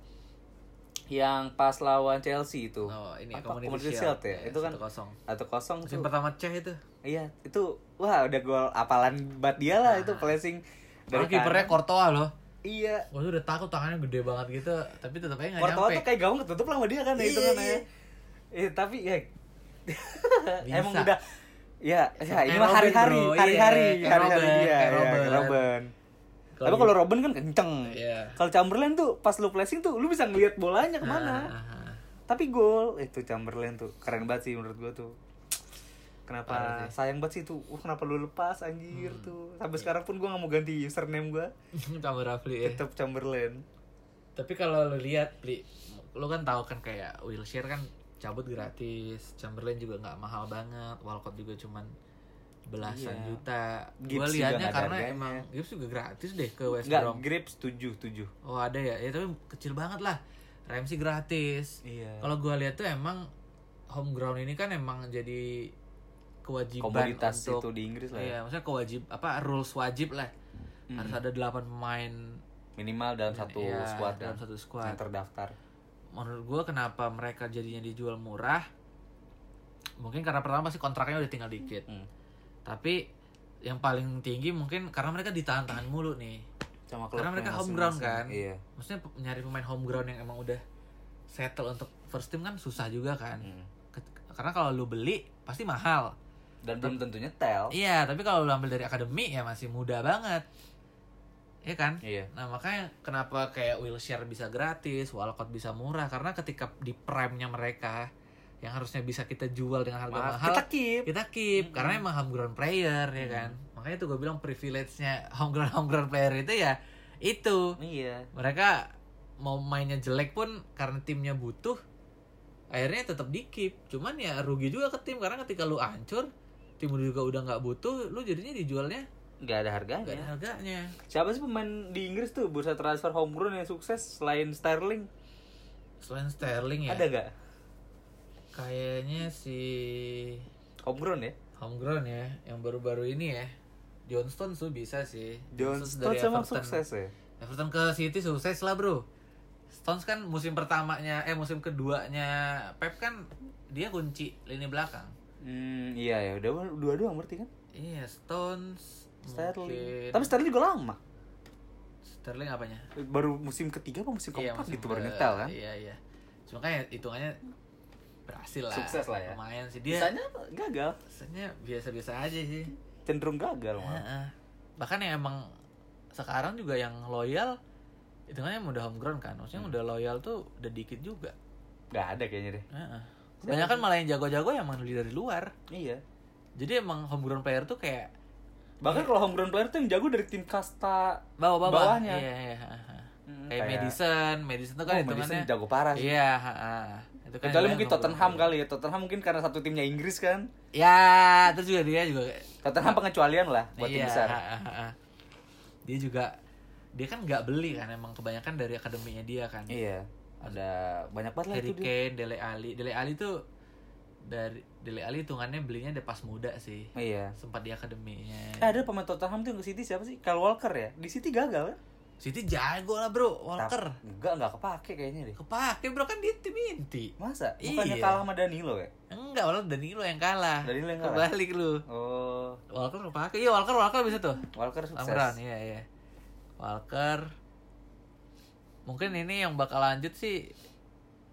Speaker 2: yang pas lawan Chelsea itu.
Speaker 1: Oh, ini ya,
Speaker 2: Apa?
Speaker 1: Community
Speaker 2: Community
Speaker 1: Shield.
Speaker 2: Shield ya.
Speaker 1: Ya,
Speaker 2: itu kan
Speaker 1: 1-0.
Speaker 2: atau kosong
Speaker 1: Musim pertama C itu.
Speaker 2: Iya, itu wah udah gol apalan buat dia lah itu placing
Speaker 1: Dari Nah.
Speaker 2: dari
Speaker 1: Oh, kipernya
Speaker 2: kanan.
Speaker 1: Kortoa loh.
Speaker 2: Iya.
Speaker 1: Gua tuh udah takut tangannya gede banget gitu, tapi tetap aja nggak
Speaker 2: Courtois
Speaker 1: nyampe.
Speaker 2: tuh kayak gawang ketutup lah sama dia kan ya,
Speaker 1: Iya,
Speaker 2: itu kan
Speaker 1: iya.
Speaker 2: ya. Eh, tapi ya
Speaker 1: Bisa.
Speaker 2: emang udah ya, ya
Speaker 1: Kayak
Speaker 2: ini mah
Speaker 1: Robin,
Speaker 2: hari-hari,
Speaker 1: bro. Iya,
Speaker 2: hari-hari,
Speaker 1: kayak
Speaker 2: hari-hari
Speaker 1: Robin,
Speaker 2: dia,
Speaker 1: kayak
Speaker 2: ya,
Speaker 1: Robin.
Speaker 2: kayak Robin.
Speaker 1: Kalau
Speaker 2: Tapi
Speaker 1: di-
Speaker 2: kalau Robin kan kenceng.
Speaker 1: Iya.
Speaker 2: Kalau Chamberlain tuh pas lu flashing tuh lu bisa ngeliat bolanya kemana.
Speaker 1: Ah, ah, ah.
Speaker 2: Tapi gol itu Chamberlain tuh keren banget sih menurut gua tuh.
Speaker 1: Parah Hmm. Iya.
Speaker 2: Kenapa sayang banget sih tuh. Wah, kenapa lu lepas anjir tuh. Sampai sekarang pun gua nggak mau ganti username gua.
Speaker 1: Tambah Rafli ya.
Speaker 2: Tetap Chamberlain.
Speaker 1: Tapi kalau lu lihat, Li, lu kan tahu kan kayak Wilshere kan cabut gratis, Chamberlain juga nggak mahal banget, Walcott juga cuman belasan
Speaker 2: Iya.
Speaker 1: juta. Gua
Speaker 2: Gibbs juga
Speaker 1: liatnya
Speaker 2: nggak ada
Speaker 1: karena
Speaker 2: harganya.
Speaker 1: emang Gibbs juga gratis deh ke West
Speaker 2: Enggak,
Speaker 1: Brom.
Speaker 2: Grips 7 7.
Speaker 1: Oh ada ya, ya tapi kecil banget lah. Ramsey gratis.
Speaker 2: Iya.
Speaker 1: Kalau gua lihat tuh emang home ground ini kan emang jadi kewajiban
Speaker 2: Komoditas
Speaker 1: untuk
Speaker 2: itu di Inggris lah ya.
Speaker 1: Iya, maksudnya kewajib apa rules wajib lah. Harus ada 8 pemain
Speaker 2: Minimal dalam satu
Speaker 1: Iya,
Speaker 2: squad
Speaker 1: dalam
Speaker 2: kan,
Speaker 1: satu squad.
Speaker 2: yang terdaftar.
Speaker 1: Menurut gua kenapa mereka jadinya dijual murah? Mungkin karena pertama sih kontraknya udah tinggal dikit.
Speaker 2: Hmm.
Speaker 1: Tapi yang paling tinggi mungkin karena mereka
Speaker 2: Hmm.
Speaker 1: ditahan-tahan mulu nih.
Speaker 2: Sama
Speaker 1: Karena
Speaker 2: klubnya
Speaker 1: mereka home
Speaker 2: masing-masing.
Speaker 1: ground kan.
Speaker 2: Iya.
Speaker 1: Maksudnya pe- nyari pemain home ground yang emang udah settle untuk first team kan susah juga kan.
Speaker 2: Hmm.
Speaker 1: Ke- Karena kalau lu beli pasti mahal.
Speaker 2: Dan belum tentunya tel.
Speaker 1: Iya, tapi kalau lu ambil dari akademi ya masih muda banget. Iya kan?
Speaker 2: Iya.
Speaker 1: Nah, makanya kenapa kayak Wilshire bisa gratis, Walcott bisa murah karena ketika di prime-nya mereka yang harusnya bisa kita jual dengan harga
Speaker 2: Mahal.
Speaker 1: mahal,
Speaker 2: Kita keep.
Speaker 1: kita keep
Speaker 2: Mm-mm.
Speaker 1: karena emang home ground player ya kan. Makanya tuh gue bilang privilege-nya home ground home ground player itu ya itu.
Speaker 2: Iya.
Speaker 1: Mereka mau mainnya jelek pun karena timnya butuh akhirnya tetap di keep. Cuman ya rugi juga ke tim karena ketika lu hancur tim lu juga udah nggak butuh, lu jadinya dijualnya
Speaker 2: Nggak ada harganya.
Speaker 1: nggak ada harganya.
Speaker 2: Siapa sih pemain di Inggris tuh bursa transfer homegrown yang sukses selain Sterling?
Speaker 1: Selain Sterling ya.
Speaker 2: Ada nggak?
Speaker 1: Kayaknya si
Speaker 2: Homegrown ya?
Speaker 1: homegrown ya, yang baru-baru ini ya. Johnston tuh bisa sih.
Speaker 2: John Stones emang sukses ya?
Speaker 1: Everton ke City sukses lah bro. Stones kan musim pertamanya, eh musim keduanya Pep kan dia kunci lini belakang.
Speaker 2: Hmm, iya ya, udah dua-dua berarti kan?
Speaker 1: Iya Stones.
Speaker 2: Sterling.
Speaker 1: mungkin-
Speaker 2: Tapi Sterling juga lama.
Speaker 1: Sterling apanya?
Speaker 2: Baru musim ketiga apa musim
Speaker 1: Iya,
Speaker 2: keempat
Speaker 1: musim
Speaker 2: gitu
Speaker 1: ke-
Speaker 2: baru nyetel kan?
Speaker 1: Iya iya. Cuma kan ya hitungannya berhasil lah.
Speaker 2: Sukses lah ya.
Speaker 1: Lumayan sih dia.
Speaker 2: Sisanya gagal,
Speaker 1: Sisanya biasa-biasa aja sih.
Speaker 2: cenderung gagal malah.
Speaker 1: Heeh. Bahkan yang emang sekarang juga yang loyal hitungannya yang udah homegrown kan. Maksudnya
Speaker 2: Hmm.
Speaker 1: yang udah loyal tuh udah dikit juga.
Speaker 2: Gak ada kayaknya deh.
Speaker 1: Heeh. Banyak kan malah yang jago-jago yang emang beli dari luar.
Speaker 2: Iya.
Speaker 1: Jadi emang homegrown player tuh kayak
Speaker 2: Bahkan
Speaker 1: Iya.
Speaker 2: kalau homegrown player tuh yang jago dari tim kasta
Speaker 1: bawa-bawa.
Speaker 2: bawahnya.
Speaker 1: Iya, iya, heeh. kayak,
Speaker 2: Hmm, kayak-
Speaker 1: Madison, Madison tuh kan
Speaker 2: Oh,
Speaker 1: hitungannya.
Speaker 2: Madison jago parah sih.
Speaker 1: Iya, heeh. Itu kan
Speaker 2: Kecuali
Speaker 1: yang
Speaker 2: mungkin
Speaker 1: homegrown
Speaker 2: Tottenham
Speaker 1: player.
Speaker 2: kali ya. Tottenham mungkin karena satu timnya Inggris kan.
Speaker 1: Ya, terus juga dia juga
Speaker 2: Tottenham pengecualian lah buat tim
Speaker 1: iya,
Speaker 2: besar.
Speaker 1: heeh, heeh. Dia juga dia kan nggak beli kan emang kebanyakan dari akademinya dia kan.
Speaker 2: Iya. Ada banyak banget lah
Speaker 1: Harry
Speaker 2: itu dia.
Speaker 1: Kane, Dele Alli. Dele Alli tuh dari Dele Alli hitungannya belinya udah pas muda sih.
Speaker 2: Iya.
Speaker 1: Sempat di akademinya.
Speaker 2: Eh, ada pemain Tottenham tuh yang ke City siapa sih? Kyle Walker ya. Di City gagal ya?
Speaker 1: City jago lah bro, Walker.
Speaker 2: Tap- Enggak, enggak kepake kayaknya deh.
Speaker 1: Kepake bro kan dia tim inti.
Speaker 2: Masa? Bukannya
Speaker 1: Iya.
Speaker 2: kalah sama Danilo ya?
Speaker 1: Enggak, walau Danilo yang kalah.
Speaker 2: Danilo yang kalah.
Speaker 1: Kebalik lu.
Speaker 2: Oh,
Speaker 1: Walker kepake. Iya, Walker Walker bisa tuh.
Speaker 2: Walker sukses.
Speaker 1: Amran, iya iya. Walker. Mungkin ini yang bakal lanjut sih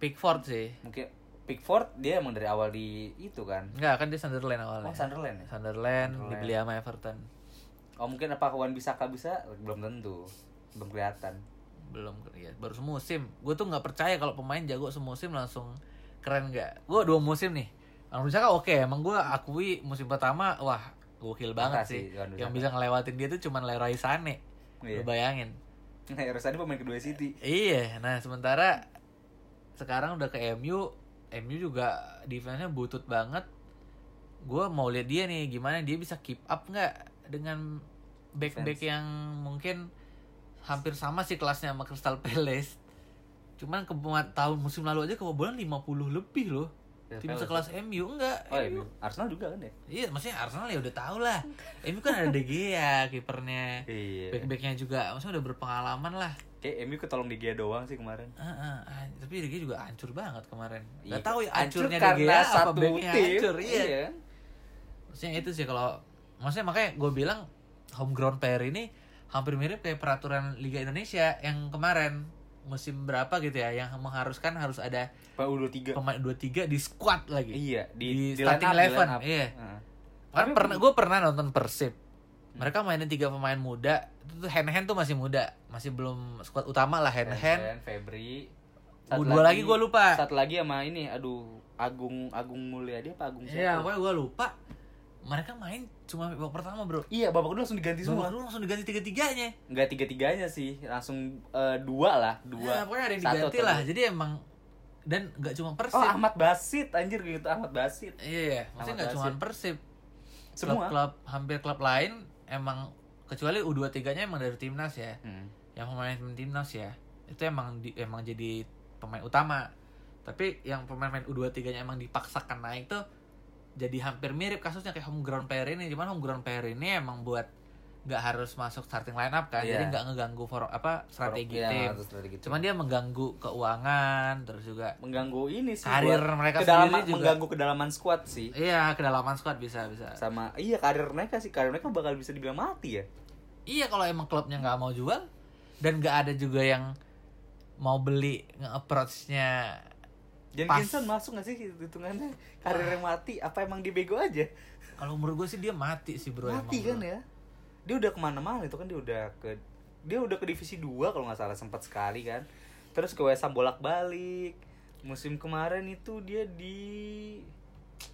Speaker 1: Pickford sih.
Speaker 2: Mungkin Pickford dia emang dari awal di itu kan.
Speaker 1: Enggak, kan dia Sunderland awalnya.
Speaker 2: Oh, Sunderland ya?
Speaker 1: Sunderland, dibeli sama Everton.
Speaker 2: Oh mungkin apa Wan Bisaka bisa belum tentu belum kelihatan.
Speaker 1: belum ya baru semusim gue tuh nggak percaya kalau pemain jago semusim langsung keren nggak gue dua musim nih Wan Bisaka oke emang gue akui musim pertama wah gokil banget
Speaker 2: Makasih,
Speaker 1: sih
Speaker 2: Wan Bisaka.
Speaker 1: yang bisa ngelewatin dia tuh cuman Leroy Sané Lu
Speaker 2: Iya.
Speaker 1: bayangin
Speaker 2: Nah Rosani pemain kedua City.
Speaker 1: iya nah sementara sekarang udah ke MU MU juga defense-nya butut banget gue mau lihat dia nih gimana dia bisa keep up nggak dengan back-back yang mungkin hampir sama sih kelasnya sama Crystal Palace cuman ke tahun musim lalu aja kebobolan 50 lebih loh tim sekelas MU enggak
Speaker 2: Ya, Oh, MU. Arsenal juga kan ya?
Speaker 1: Iya, maksudnya Arsenal ya udah tau lah. MU kan ada De Gea kipernya.
Speaker 2: Iya.
Speaker 1: Back-backnya juga maksudnya udah berpengalaman lah.
Speaker 2: Kayak MU ketolong di Gia doang sih kemarin.
Speaker 1: Heeh, ah, tapi De Gea juga hancur banget kemarin.
Speaker 2: Iya.
Speaker 1: Gak tahu ya
Speaker 2: Hancur
Speaker 1: hancurnya De
Speaker 2: karena
Speaker 1: Gea apa
Speaker 2: satu
Speaker 1: backnya
Speaker 2: tim.
Speaker 1: hancur. Iya.
Speaker 2: Iya.
Speaker 1: Maksudnya itu sih kalau maksudnya makanya gue bilang homegrown player ini hampir mirip kayak peraturan Liga Indonesia yang kemarin musim berapa gitu ya yang mengharuskan harus ada
Speaker 2: Pak U23.
Speaker 1: pemain 23 di squad lagi.
Speaker 2: Iya,
Speaker 1: Oh, Di
Speaker 2: di,
Speaker 1: starting
Speaker 2: line up,
Speaker 1: eleven,
Speaker 2: line up.
Speaker 1: iya.
Speaker 2: Heeh.
Speaker 1: Kan pernah gue pernah nonton Persib.
Speaker 2: Hmm.
Speaker 1: Mereka mainin tiga pemain muda. Itu hand hand tuh masih muda, masih belum squad utama lah hand hand.
Speaker 2: Hen, Febri.
Speaker 1: Oh, dua lagi gua lupa.
Speaker 2: Satu lagi sama ini, aduh, Agung Agung Mulyadi apa Agung
Speaker 1: Iya,
Speaker 2: siapa?
Speaker 1: pokoknya gue lupa. Mereka main cuma babak pertama bro.
Speaker 2: Iya, babak kedua langsung diganti
Speaker 1: Babak
Speaker 2: semua.
Speaker 1: kedua langsung diganti tiga tiganya.
Speaker 2: Enggak tiga-tiganya sih, langsung eh, dua lah,
Speaker 1: Nah,
Speaker 2: dua.
Speaker 1: pokoknya ada yang
Speaker 2: Satu
Speaker 1: diganti
Speaker 2: atau
Speaker 1: lah.
Speaker 2: dua.
Speaker 1: Jadi emang dan nggak cuma Persib.
Speaker 2: Oh, Ahmad Basit, anjir gitu Ahmad Basit.
Speaker 1: Iya, iya. maksudnya nggak cuma
Speaker 2: Sama
Speaker 1: Persib.
Speaker 2: Semua.
Speaker 1: Klub-klub hampir klub lain emang kecuali U23-nya emang dari timnas ya.
Speaker 2: Hmm.
Speaker 1: Yang pemain pemain timnas ya. Itu emang di, emang jadi pemain utama. Tapi yang pemain-pemain U23-nya emang dipaksakan naik tuh jadi hampir mirip kasusnya kayak home ground player ini. Cuman home ground player ini emang buat nggak harus masuk starting lineup kan. Jadi
Speaker 2: Iya.
Speaker 1: nggak ngeganggu for, apa strategi
Speaker 2: Iya,
Speaker 1: tim.
Speaker 2: harus strategi tim.
Speaker 1: Cuman dia mengganggu keuangan terus juga
Speaker 2: mengganggu ini sih
Speaker 1: Karir
Speaker 2: buat
Speaker 1: mereka
Speaker 2: kedalaman,
Speaker 1: sendiri juga.
Speaker 2: mengganggu kedalaman squad sih.
Speaker 1: Iya, kedalaman squad bisa bisa.
Speaker 2: Sama iya karir mereka sih, karir mereka bakal bisa dibilang mati ya.
Speaker 1: Iya kalau emang klubnya nggak mau jual dan nggak ada juga yang mau beli nge-approach-nya
Speaker 2: Jan
Speaker 1: Pas.
Speaker 2: Kinson masuk gak sih hitungannya karirnya mati? Apa emang dia bego aja?
Speaker 1: Kalau menurut gue sih dia mati sih bro.
Speaker 2: mati
Speaker 1: emang,
Speaker 2: kan
Speaker 1: bro.
Speaker 2: ya? Dia udah kemana-mana itu kan dia udah ke dia udah ke divisi 2 kalau nggak salah sempat sekali kan. Terus ke Wesam bolak-balik. Musim kemarin itu dia di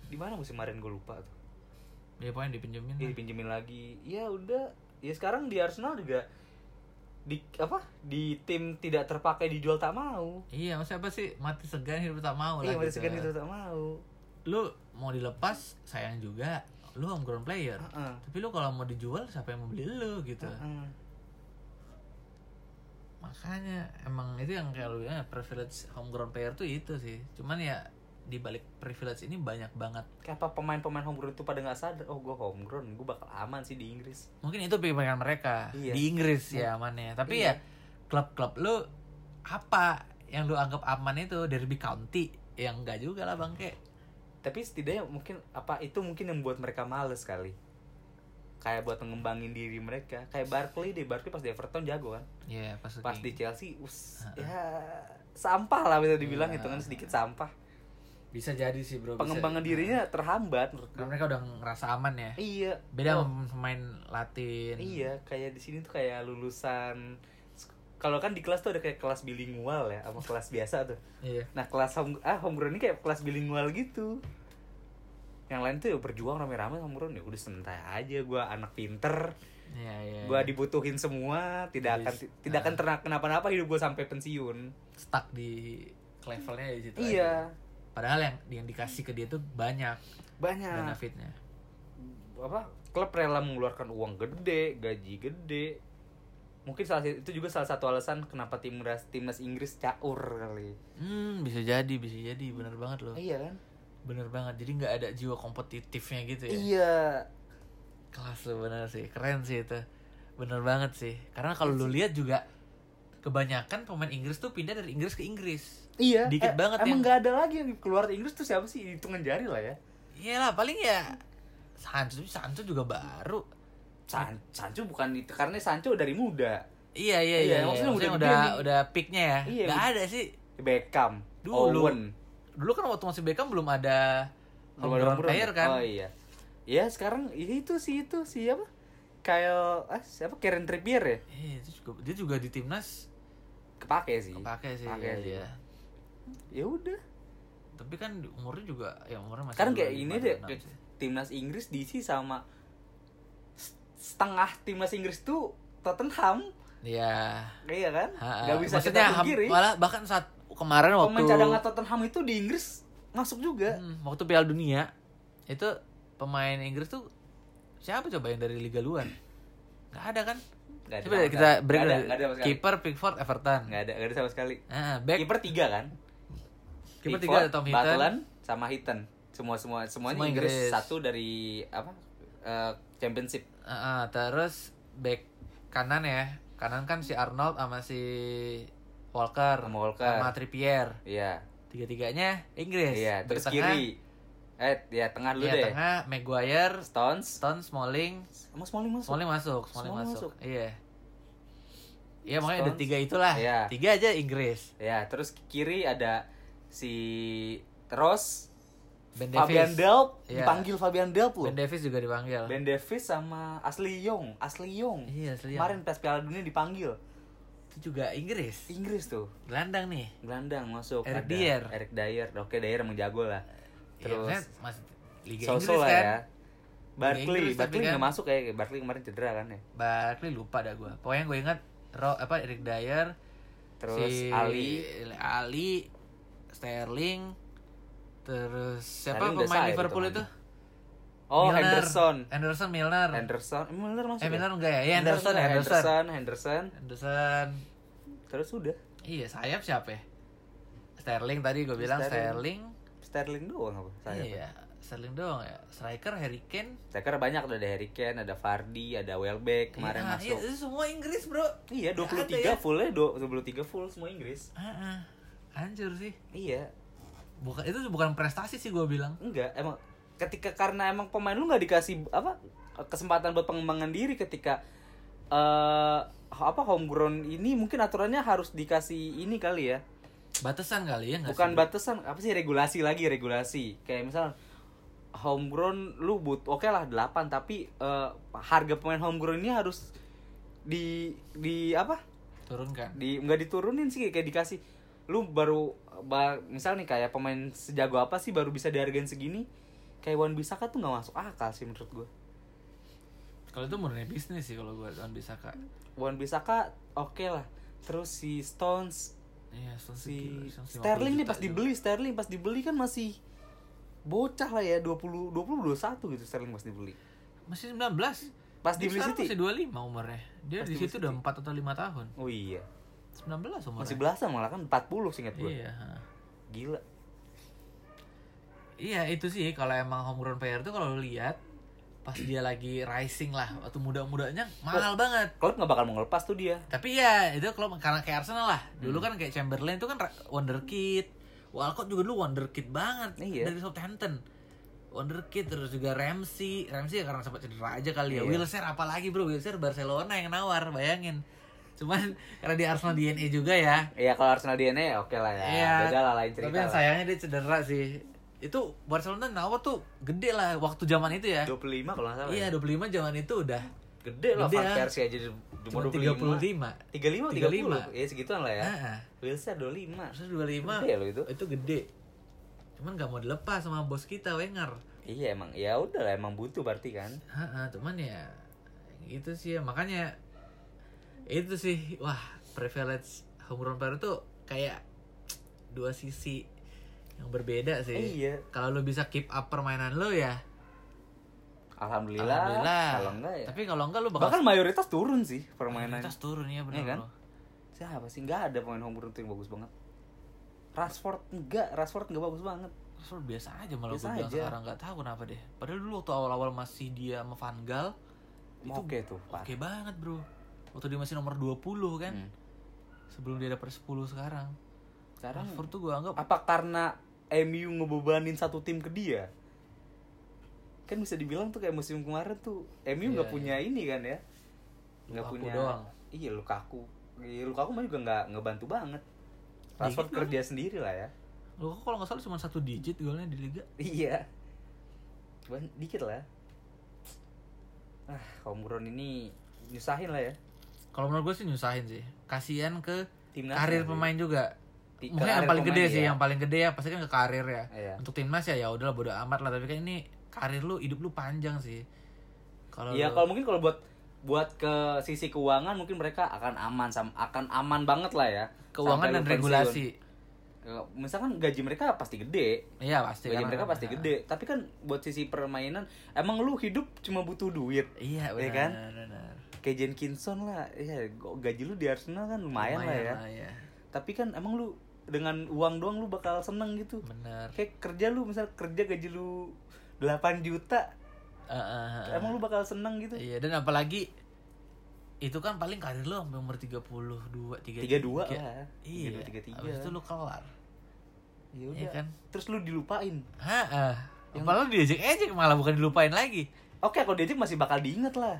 Speaker 2: di mana musim kemarin gue lupa tuh. kan?
Speaker 1: Dia pokoknya dipinjemin.
Speaker 2: Dia dipinjemin lagi. Ya udah, ya sekarang di Arsenal juga di apa? Di tim tidak terpakai dijual tak mau.
Speaker 1: Iya, maksudnya apa sih mati segan hidup tak mau
Speaker 2: Iya,
Speaker 1: lah
Speaker 2: masih
Speaker 1: gitu.
Speaker 2: segan itu tak mau.
Speaker 1: Lu mau dilepas sayang juga. Lu home ground player.
Speaker 2: Heeh.
Speaker 1: Tapi lu kalau mau dijual siapa yang mau beli lu gitu.
Speaker 2: Heeh.
Speaker 1: Makanya emang itu yang kayak lu bilang, ya, privilege home ground player tuh itu sih. Cuman ya di balik privilege ini banyak banget
Speaker 2: Kayak apa pemain-pemain homegrown itu pada nggak sadar oh gue homegrown gue bakal aman sih di Inggris
Speaker 1: mungkin itu pilihan mereka
Speaker 2: Iya.
Speaker 1: di Inggris ya amannya tapi ya klub-klub lu apa yang lu anggap aman itu Derby County yang enggak juga lah bangke
Speaker 2: tapi setidaknya mungkin apa itu mungkin yang buat mereka males kali kayak buat mengembangin diri mereka kayak Barkley deh Barkley pas di Everton jago kan
Speaker 1: ya pas,
Speaker 2: pas di
Speaker 1: di-
Speaker 2: Chelsea us ya sampah lah bisa dibilang
Speaker 1: Iya.
Speaker 2: hitungan sedikit sampah
Speaker 1: bisa iya. jadi sih bro bisa.
Speaker 2: pengembangan dirinya terhambat menurut
Speaker 1: Karena
Speaker 2: gue
Speaker 1: mereka udah ngerasa aman ya
Speaker 2: iya
Speaker 1: beda
Speaker 2: Oh,
Speaker 1: sama pemain Latin
Speaker 2: iya kayak di sini tuh kayak lulusan kalau kan di kelas tuh ada kayak kelas bilingual ya sama kelas biasa tuh
Speaker 1: Iya.
Speaker 2: Nah kelas home, ah, homegrown ini kayak kelas bilingual gitu Yang lain tuh ya berjuang rame-rame homegrown ya udah santai aja gua anak pinter
Speaker 1: Iya, iya,
Speaker 2: gua
Speaker 1: iya.
Speaker 2: dibutuhin semua tidak akan
Speaker 1: Jadi,
Speaker 2: tidak akan terna- kenapa-napa hidup gua sampai pensiun
Speaker 1: stuck di levelnya di situ aja.
Speaker 2: iya
Speaker 1: padahal yang yang dikasih ke dia tuh banyak
Speaker 2: banyak
Speaker 1: benefitnya
Speaker 2: apa klub rela mengeluarkan uang gede gaji gede mungkin salah si- itu juga salah satu alasan kenapa timnas timnas Inggris caur kali
Speaker 1: hmm bisa jadi bisa jadi bener banget loh
Speaker 2: iya kan
Speaker 1: bener banget jadi nggak ada jiwa kompetitifnya gitu ya
Speaker 2: iya
Speaker 1: kelas lu bener sih keren sih itu bener banget sih karena kalau
Speaker 2: Iya
Speaker 1: lu lihat juga kebanyakan pemain Inggris tuh pindah dari Inggris ke Inggris
Speaker 2: iya
Speaker 1: Dikit banget
Speaker 2: emang
Speaker 1: yang-
Speaker 2: nggak ada lagi yang keluar dari Inggris tuh siapa sih hitungan jari lah ya
Speaker 1: iyalah paling ya Sancho Sancho juga baru
Speaker 2: San Sancho bukan itu karena Sancho dari muda.
Speaker 1: iya iya
Speaker 2: Iya,
Speaker 1: iya, iya.
Speaker 2: maksudnya
Speaker 1: Maksudnya
Speaker 2: udah
Speaker 1: udah
Speaker 2: gede nih.
Speaker 1: udah peaknya ya
Speaker 2: Iya,
Speaker 1: nggak
Speaker 2: udah-
Speaker 1: ada sih
Speaker 2: Beckham,
Speaker 1: Dulu.
Speaker 2: Owen,
Speaker 1: dulu kan waktu masih Beckham belum ada
Speaker 2: belum
Speaker 1: homegrown
Speaker 2: ada homegrown.
Speaker 1: player kan
Speaker 2: Oh iya. Ya sekarang ya itu sih itu siapa? Kyle ah siapa Karen Trippier ya?
Speaker 1: Eh, itu juga dia juga di timnas
Speaker 2: Kepake sih.
Speaker 1: pakai sih, iya,
Speaker 2: Kepake sih.
Speaker 1: iya.
Speaker 2: Ya udah.
Speaker 1: tapi kan umurnya juga ya umurnya masih
Speaker 2: Sekarang Kan kayak ini
Speaker 1: 25,
Speaker 2: deh Iya.
Speaker 1: 26
Speaker 2: kayak
Speaker 1: sih.
Speaker 2: timnas Inggris diisi sama s- setengah timnas Inggris tuh Tottenham,
Speaker 1: iya
Speaker 2: iya kan?
Speaker 1: Ha-ha.
Speaker 2: Gak bisa
Speaker 1: Maksudnya
Speaker 2: kita
Speaker 1: ham-
Speaker 2: pungkiri.
Speaker 1: malah bahkan saat kemarin waktu
Speaker 2: Pemain cadangan Tottenham itu di Inggris masuk juga.
Speaker 1: Hmm, waktu Piala Dunia itu pemain Inggris tuh siapa coba yang dari liga luar? Gak ada kan?
Speaker 2: Gak ada
Speaker 1: Coba
Speaker 2: sama
Speaker 1: deh kita
Speaker 2: sekali.
Speaker 1: break
Speaker 2: Gak Eh, ada,
Speaker 1: dulu.
Speaker 2: gak ada sama sekali.
Speaker 1: Kiper Pickford Everton.
Speaker 2: Nggak ada, nggak ada sama sekali.
Speaker 1: Ah, back
Speaker 2: Kiper tiga kan?
Speaker 1: kiper Tim
Speaker 2: Pickford,
Speaker 1: bertiga ada Tom Heaton.
Speaker 2: Butland, sama Heaton. Semua semua semuanya
Speaker 1: Semua
Speaker 2: Inggris.
Speaker 1: Inggris.
Speaker 2: Satu dari apa? eh, championship.
Speaker 1: Heeh, Ah, terus back kanan ya. Kanan kan si Arnold sama si Walker
Speaker 2: Sama Walker.
Speaker 1: sama Trippier.
Speaker 2: Iya.
Speaker 1: Tiga-tiganya Inggris.
Speaker 2: Iya,
Speaker 1: Di
Speaker 2: terus
Speaker 1: tengah,
Speaker 2: kiri. Eh, ya tengah dulu
Speaker 1: Iya,
Speaker 2: deh.
Speaker 1: tengah Maguire,
Speaker 2: Stones.
Speaker 1: Stone, Smalling,
Speaker 2: Sama Smalling masuk.
Speaker 1: Smalling masuk, Smalling,
Speaker 2: Smalling
Speaker 1: masuk.
Speaker 2: masuk.
Speaker 1: Iya. Iya makanya ada
Speaker 2: Stones.
Speaker 1: tiga itulah.
Speaker 2: Iya.
Speaker 1: Tiga aja Inggris.
Speaker 2: Ya, terus kiri ada si Ross,
Speaker 1: Ben
Speaker 2: Fabian
Speaker 1: Davies.
Speaker 2: Delp,
Speaker 1: Iya.
Speaker 2: dipanggil Fabian Delp loh.
Speaker 1: Ben Davies juga dipanggil.
Speaker 2: Ben Davies sama Ashley Young, Ashley Young.
Speaker 1: Iya, asli.
Speaker 2: Kemarin pas Piala Dunia dipanggil.
Speaker 1: itu juga Inggris.
Speaker 2: Inggris tuh,
Speaker 1: Gelandang nih.
Speaker 2: gelandang masuk.
Speaker 1: Eric
Speaker 2: Ada
Speaker 1: Dier.
Speaker 2: Eric Dier, oke Dier emang jago lah.
Speaker 1: Terus
Speaker 2: Terus
Speaker 1: masih Iya, Liga
Speaker 2: Soso
Speaker 1: Inggris
Speaker 2: lah
Speaker 1: kan.
Speaker 2: ya. Barkley,
Speaker 1: Inggris tapi
Speaker 2: Barkley
Speaker 1: kan-
Speaker 2: nggak masuk ya, Barkley kemarin cedera kan ya.
Speaker 1: Barkley lupa dah gue. Pokoknya gue ingat Ro, apa Eric Dyer,
Speaker 2: Terus
Speaker 1: si
Speaker 2: Ali,
Speaker 1: Ali, Sterling, terus siapa
Speaker 2: Sterling udah
Speaker 1: pemain
Speaker 2: sah ya
Speaker 1: Liverpool
Speaker 2: hitungannya.
Speaker 1: itu?
Speaker 2: oh
Speaker 1: Milner.
Speaker 2: Henderson,
Speaker 1: Henderson Milner.
Speaker 2: Henderson, eh, Milner masuk.
Speaker 1: eh
Speaker 2: ya?
Speaker 1: Milner enggak ya? Ya Henderson,
Speaker 2: nggak?
Speaker 1: Henderson. Henderson.
Speaker 2: Henderson, Henderson. Terus udah,
Speaker 1: Iya, sayap siapa ya? Sterling tadi gue bilang Sterling.
Speaker 2: Sterling. Sterling doang apa? Sayap. ya.
Speaker 1: Iya, Sterling doang ya. Striker Harry Kane.
Speaker 2: Striker banyak tuh, ada Harry Kane, ada Vardy, ada Welbeck kemarin
Speaker 1: Iya,
Speaker 2: masuk.
Speaker 1: Iya, itu semua Inggris, Bro.
Speaker 2: Iya,
Speaker 1: Nggak
Speaker 2: 23
Speaker 1: ada ya.
Speaker 2: full ya, do- 23 full semua Inggris.
Speaker 1: Heeh. Hancur sih.
Speaker 2: Iya.
Speaker 1: Bukan itu bukan prestasi sih gue bilang.
Speaker 2: Enggak, emang ketika karena emang pemain lu nggak dikasih apa kesempatan buat pengembangan diri ketika eh apa homegrown ini mungkin aturannya harus dikasih ini kali ya.
Speaker 1: Batasan kali ya nggak sih?
Speaker 2: bukan batasan apa sih regulasi lagi regulasi kayak misal homegrown lu but oke lah 8 tapi eh, harga pemain homegrown ini harus di di apa
Speaker 1: turunkan.
Speaker 2: di nggak diturunin sih kayak dikasih lu baru ba- misal nih kayak pemain sejago apa sih baru bisa dihargain segini kayak Wan Bisaka tuh nggak masuk akal sih menurut gue
Speaker 1: Kalau itu murni bisnis sih kalau gue Wan Bisaka.
Speaker 2: Wan Bisaka oke lah terus si Stones
Speaker 1: Iya, Stones
Speaker 2: si
Speaker 1: gila, Stones 50
Speaker 2: Sterling nih
Speaker 1: juta
Speaker 2: pas
Speaker 1: juga.
Speaker 2: dibeli Sterling pas dibeli kan masih bocah lah ya 20 20 21 gitu Sterling pas dibeli.
Speaker 1: Masih 19.
Speaker 2: Pas
Speaker 1: Dia
Speaker 2: dibeli
Speaker 1: sekarang
Speaker 2: City.
Speaker 1: Masih 25 umurnya. Dia
Speaker 2: Pas
Speaker 1: di
Speaker 2: dibeli
Speaker 1: situ udah
Speaker 2: City.
Speaker 1: 4 atau 5 tahun.
Speaker 2: Oh iya.
Speaker 1: 19 umurnya.
Speaker 2: Masih belasan malah kan 40 singkat gue.
Speaker 1: Iya, ha.
Speaker 2: Gila.
Speaker 1: Iya, itu sih kalau emang homegrown player tuh kalau lu lihat pas dia lagi rising lah waktu muda-mudanya mahal
Speaker 2: Oh.
Speaker 1: banget.
Speaker 2: Klopp nggak bakal mau ngelepas tuh dia.
Speaker 1: Tapi ya itu kalau karena kayak Arsenal lah.
Speaker 2: Hmm.
Speaker 1: Dulu kan kayak Chamberlain itu kan ra- wonderkid. Walcott juga dulu wonderkid banget
Speaker 2: Iya.
Speaker 1: dari Southampton. Wonderkid terus juga Ramsey. Ramsey ya karena sempat cedera aja kali ya.
Speaker 2: Iya.
Speaker 1: Wilshere apalagi bro, Wilshere Barcelona yang nawar, bayangin. Cuman karena di Arsenal DNA juga ya.
Speaker 2: Iya kalau Arsenal DNA ya oke lah ya. Beda lah lain cerita.
Speaker 1: Iya. Tapi yang
Speaker 2: lah.
Speaker 1: sayangnya dia cedera sih. Itu Barcelona nawar tuh gede lah waktu zaman itu ya.
Speaker 2: 25 kalau nggak salah.
Speaker 1: Iya,
Speaker 2: ya.
Speaker 1: 25 zaman itu udah
Speaker 2: Gede lah
Speaker 1: Gede
Speaker 2: Van
Speaker 1: ya.
Speaker 2: Persie aja di di
Speaker 1: cuma
Speaker 2: umur 25.
Speaker 1: 35. 35.
Speaker 2: 35 30. Ya segituan lah ya.
Speaker 1: Heeh.
Speaker 2: Wilson 25.
Speaker 1: Terus 25
Speaker 2: Gede ya, loh itu.
Speaker 1: itu gede cuman nggak mau dilepas sama bos kita Wenger
Speaker 2: Iya emang ya udah lah emang butuh berarti kan.
Speaker 1: Heeh, cuman ya itu sih ya. makanya itu sih wah privilege homegrown player tuh kayak dua sisi yang berbeda sih
Speaker 2: Iya.
Speaker 1: kalau lu bisa keep up permainan lu ya
Speaker 2: Alhamdulillah.
Speaker 1: alhamdulillah
Speaker 2: Kalau enggak ya.
Speaker 1: tapi kalau enggak lu bakal
Speaker 2: Bahkan mayoritas turun sih permainan.
Speaker 1: kualitas turun ya benar
Speaker 2: Iya kan?
Speaker 1: lu.
Speaker 2: Siapa sih? Enggak ada pemain homegrown tuh yang bagus banget. Rashford enggak, Rashford enggak bagus banget.
Speaker 1: Terus biasa aja malah gue
Speaker 2: Biasa
Speaker 1: bilang
Speaker 2: aja.
Speaker 1: sekarang nggak tahu kenapa deh padahal dulu waktu awal-awal masih dia sama Van Gaal
Speaker 2: Itu oke tuh, Pak.
Speaker 1: Oke banget bro Waktu dia masih nomor 20 kan
Speaker 2: Hmm.
Speaker 1: Sebelum dia dapet 10 sekarang
Speaker 2: Sekarang
Speaker 1: Rashford tuh gue anggap
Speaker 2: apa karena MU ngebebanin satu tim ke dia? Kan bisa dibilang tuh kayak musim kemarin tuh MU
Speaker 1: Iya,
Speaker 2: nggak punya ini kan ya? Nggak
Speaker 1: Lukaku
Speaker 2: punya
Speaker 1: doang.
Speaker 2: Iya, Lukaku. Iya, Lukaku mah juga nggak ngebantu banget. Rashford
Speaker 1: Dikit
Speaker 2: kerja sendiri lah ya.
Speaker 1: Lu kalau nggak salah cuma satu digit golnya di Liga
Speaker 2: Iya. Cuman dikit lah. Ah, homegrown ini nyusahin lah ya.
Speaker 1: Kalau menurut gue sih nyusahin sih Kasian ke
Speaker 2: Timnas
Speaker 1: karir
Speaker 2: lagi.
Speaker 1: pemain juga
Speaker 2: Di-
Speaker 1: Mungkin yang
Speaker 2: karir
Speaker 1: paling gede
Speaker 2: pemain
Speaker 1: sih
Speaker 2: ya.
Speaker 1: Yang paling gede ya pasti kan ke karir ya
Speaker 2: Iya.
Speaker 1: Untuk timnas ya ya udahlah bodo amat lah Tapi kan ini karir lu hidup lu panjang sih Kalau
Speaker 2: Iya,
Speaker 1: lu-
Speaker 2: kalau mungkin kalau buat buat ke sisi keuangan mungkin mereka akan aman sama akan aman banget lah ya.
Speaker 1: keuangan
Speaker 2: Sampai
Speaker 1: dan
Speaker 2: lu pensiun.
Speaker 1: regulasi
Speaker 2: Eh, Misalkan gaji mereka pasti gede.
Speaker 1: Iya pasti
Speaker 2: Gaji
Speaker 1: karena-
Speaker 2: mereka pasti gede, tapi kan buat sisi permainan emang lu hidup cuma butuh duit.
Speaker 1: Iya benar
Speaker 2: Iya kan?
Speaker 1: benar.
Speaker 2: Kayak Iya, Jenkinson lah, ya gaji lu di Arsenal kan lumayan, lah ya.
Speaker 1: ya.
Speaker 2: Tapi kan emang lu dengan uang doang lu bakal seneng gitu
Speaker 1: bener
Speaker 2: kayak kerja lu misal kerja gaji lu 8 juta
Speaker 1: Eh, eh, eh.
Speaker 2: emang lu bakal seneng gitu
Speaker 1: Iya dan apalagi itu kan paling karir lo sampai umur 32, 33.
Speaker 2: 32 lah.
Speaker 1: Iya.
Speaker 2: 32, 33.
Speaker 1: Abis itu lo kelar.
Speaker 2: ya
Speaker 1: Iya
Speaker 2: udah
Speaker 1: kan?
Speaker 2: terus lu dilupain
Speaker 1: Heeh. Malah lo diejek-ejek malah bukan dilupain lagi.
Speaker 2: oke kalau diajak masih bakal diinget lah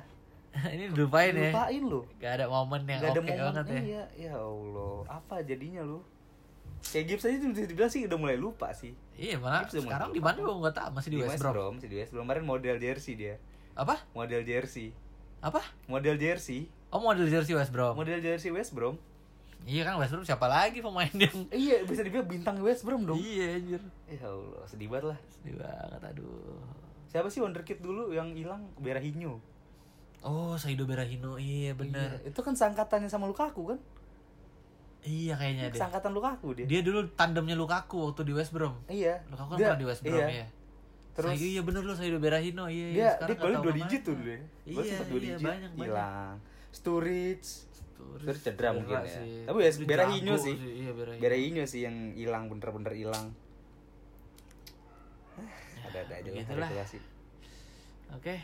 Speaker 1: Ini dilupain ya.
Speaker 2: dilupain lu
Speaker 1: Gak ada momen yang
Speaker 2: Gak ada
Speaker 1: oke
Speaker 2: momen
Speaker 1: banget ya.
Speaker 2: iya ya Allah apa jadinya lu kayak Gibbs aja bisa dibilang sih udah mulai lupa sih
Speaker 1: Iya, malah
Speaker 2: Gibbs udah mulai
Speaker 1: sekarang di
Speaker 2: dilupain.
Speaker 1: mana gue nggak tahu masih di, West Brom.
Speaker 2: masih di West Brom kemarin model jersey dia
Speaker 1: Apa?
Speaker 2: model jersey
Speaker 1: Apa?
Speaker 2: model jersey
Speaker 1: Oh model jersey West Brom.
Speaker 2: model jersey West Brom
Speaker 1: Iya kan West Brom siapa lagi pemain yang
Speaker 2: iya bisa dibilang bintang West Brom dong
Speaker 1: Iya anjir.
Speaker 2: ya Allah sedih banget lah
Speaker 1: Sedih banget aduh.
Speaker 2: siapa sih wonderkid dulu yang hilang Berahinho
Speaker 1: Oh, Saido Berahino. Iya bener.
Speaker 2: Iya, itu kan sangkatannya sama Lukaku kan
Speaker 1: Iya, kayaknya deh.
Speaker 2: sangkatan Lukaku dia,
Speaker 1: Dia dulu tandemnya Lukaku waktu di West Brom.
Speaker 2: iya
Speaker 1: Lukaku kan
Speaker 2: Dia-
Speaker 1: pernah di West Brom
Speaker 2: iya.
Speaker 1: ya. Terus
Speaker 2: terus
Speaker 1: Saya, iya bener lu saya udah berahino iya. iya.
Speaker 2: dia
Speaker 1: Sekarang
Speaker 2: dia
Speaker 1: nggak
Speaker 2: golnya
Speaker 1: tahu
Speaker 2: dua
Speaker 1: kemana.
Speaker 2: digit tuh dulu ya Gua
Speaker 1: Iya,
Speaker 2: sempat dua
Speaker 1: iya,
Speaker 2: digit
Speaker 1: banyak, banyak.
Speaker 2: hilang Sturridge Terus cedera mungkin ya. Tapi ya,
Speaker 1: Terus
Speaker 2: Berahino
Speaker 1: jago
Speaker 2: sih.
Speaker 1: Iya berahino.
Speaker 2: Berahinho sih yang hilang bener-bener hilang Ah, ada-ada aja lah
Speaker 1: begitulah.
Speaker 2: regulasi.
Speaker 1: Oke.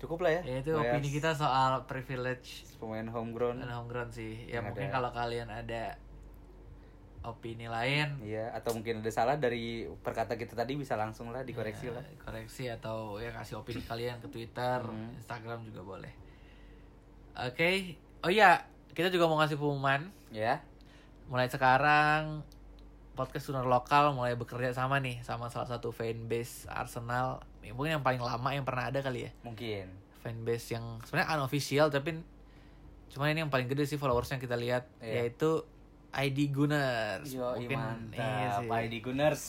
Speaker 2: cukup lah
Speaker 1: Ya
Speaker 2: ya
Speaker 1: itu
Speaker 2: Bahas
Speaker 1: opini kita soal privilege
Speaker 2: pemain homegrown
Speaker 1: dan homegrown sih. Ya
Speaker 2: Yang
Speaker 1: mungkin
Speaker 2: ada-
Speaker 1: kalau kalian ada opini lain
Speaker 2: Iya, atau mungkin ada salah dari perkata kita tadi bisa langsung lah dikoreksi lah.
Speaker 1: eh, koreksi atau ya kasih opini kalian ke Twitter,
Speaker 2: Hmm.
Speaker 1: Instagram juga boleh. Oke. Oh iya, kita juga mau ngasih pengumuman.
Speaker 2: Ya.
Speaker 1: mulai sekarang podcast Sunar Lokal mulai bekerja sama nih sama salah satu fanbase Arsenal Ya, mungkin yang paling lama yang pernah ada kali ya
Speaker 2: Mungkin.
Speaker 1: fanbase yang sebenarnya unofficial tapi cuman ini yang paling gede sih followersnya kita lihat
Speaker 2: Iya.
Speaker 1: yaitu ID Gunners
Speaker 2: Yo,
Speaker 1: mungkin iya
Speaker 2: mantap.
Speaker 1: sih.
Speaker 2: Pak Edi Gunners.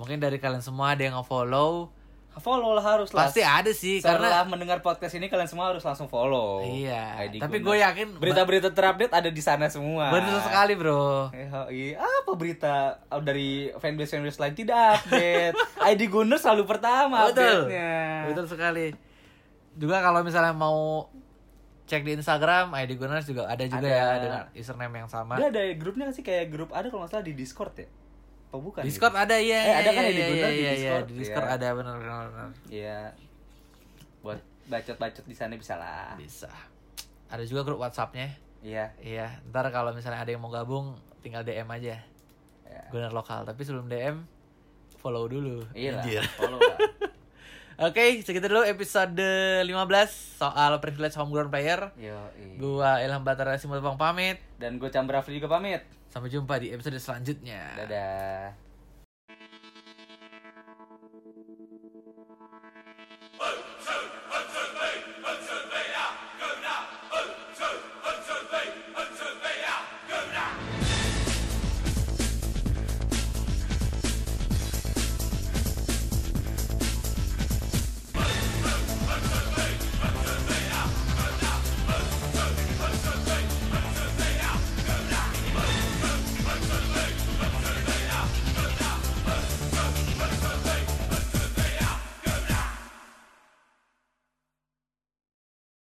Speaker 1: mungkin dari kalian semua ada yang follow
Speaker 2: Follow lah harus lah.
Speaker 1: pasti ada sih karena
Speaker 2: Setelah mendengar podcast ini kalian semua harus langsung follow.
Speaker 1: Iya,
Speaker 2: Oh, ID
Speaker 1: tapi
Speaker 2: Gunners.
Speaker 1: gue yakin
Speaker 2: berita-berita terupdate ada di sana semua.
Speaker 1: bener sekali bro
Speaker 2: Yoi, apa berita oh, dari fanbase fanbase lain tidak update. ID Gunners selalu pertama update-nya.
Speaker 1: Betul sekali. Juga kalau misalnya mau cek di Instagram, ID Gunners juga ada juga
Speaker 2: Ada.
Speaker 1: ya dengan username yang sama.
Speaker 2: Dia ada grupnya nggak sih kayak grup ada kalau nggak salah di Discord ya? Apa bukan?
Speaker 1: Discord ada ya.
Speaker 2: Eh, ada kan ID Gunners
Speaker 1: di
Speaker 2: di
Speaker 1: Discord.
Speaker 2: Discord,
Speaker 1: iya, Di Discord
Speaker 2: ya.
Speaker 1: ada benar benar. benar.
Speaker 2: Iya. Buat bacot-bacot di sana bisa lah.
Speaker 1: Bisa. Ada juga grup WhatsAppnya.
Speaker 2: Iya.
Speaker 1: Iya, ntar kalau misalnya ada yang mau gabung, tinggal DM aja.
Speaker 2: Iya.
Speaker 1: Gunner lokal. Tapi sebelum DM, follow dulu.
Speaker 2: Iya lah.
Speaker 1: Anjir.
Speaker 2: Follow lah.
Speaker 1: Oke, segitu dulu episode 15 soal privilege homegrown player.
Speaker 2: Yoi. Gua
Speaker 1: Gua Ilham Batara Simulpang pamit.
Speaker 2: dan gue Chandra Afri juga pamit.
Speaker 1: Sampai jumpa di episode selanjutnya.
Speaker 2: Dadah.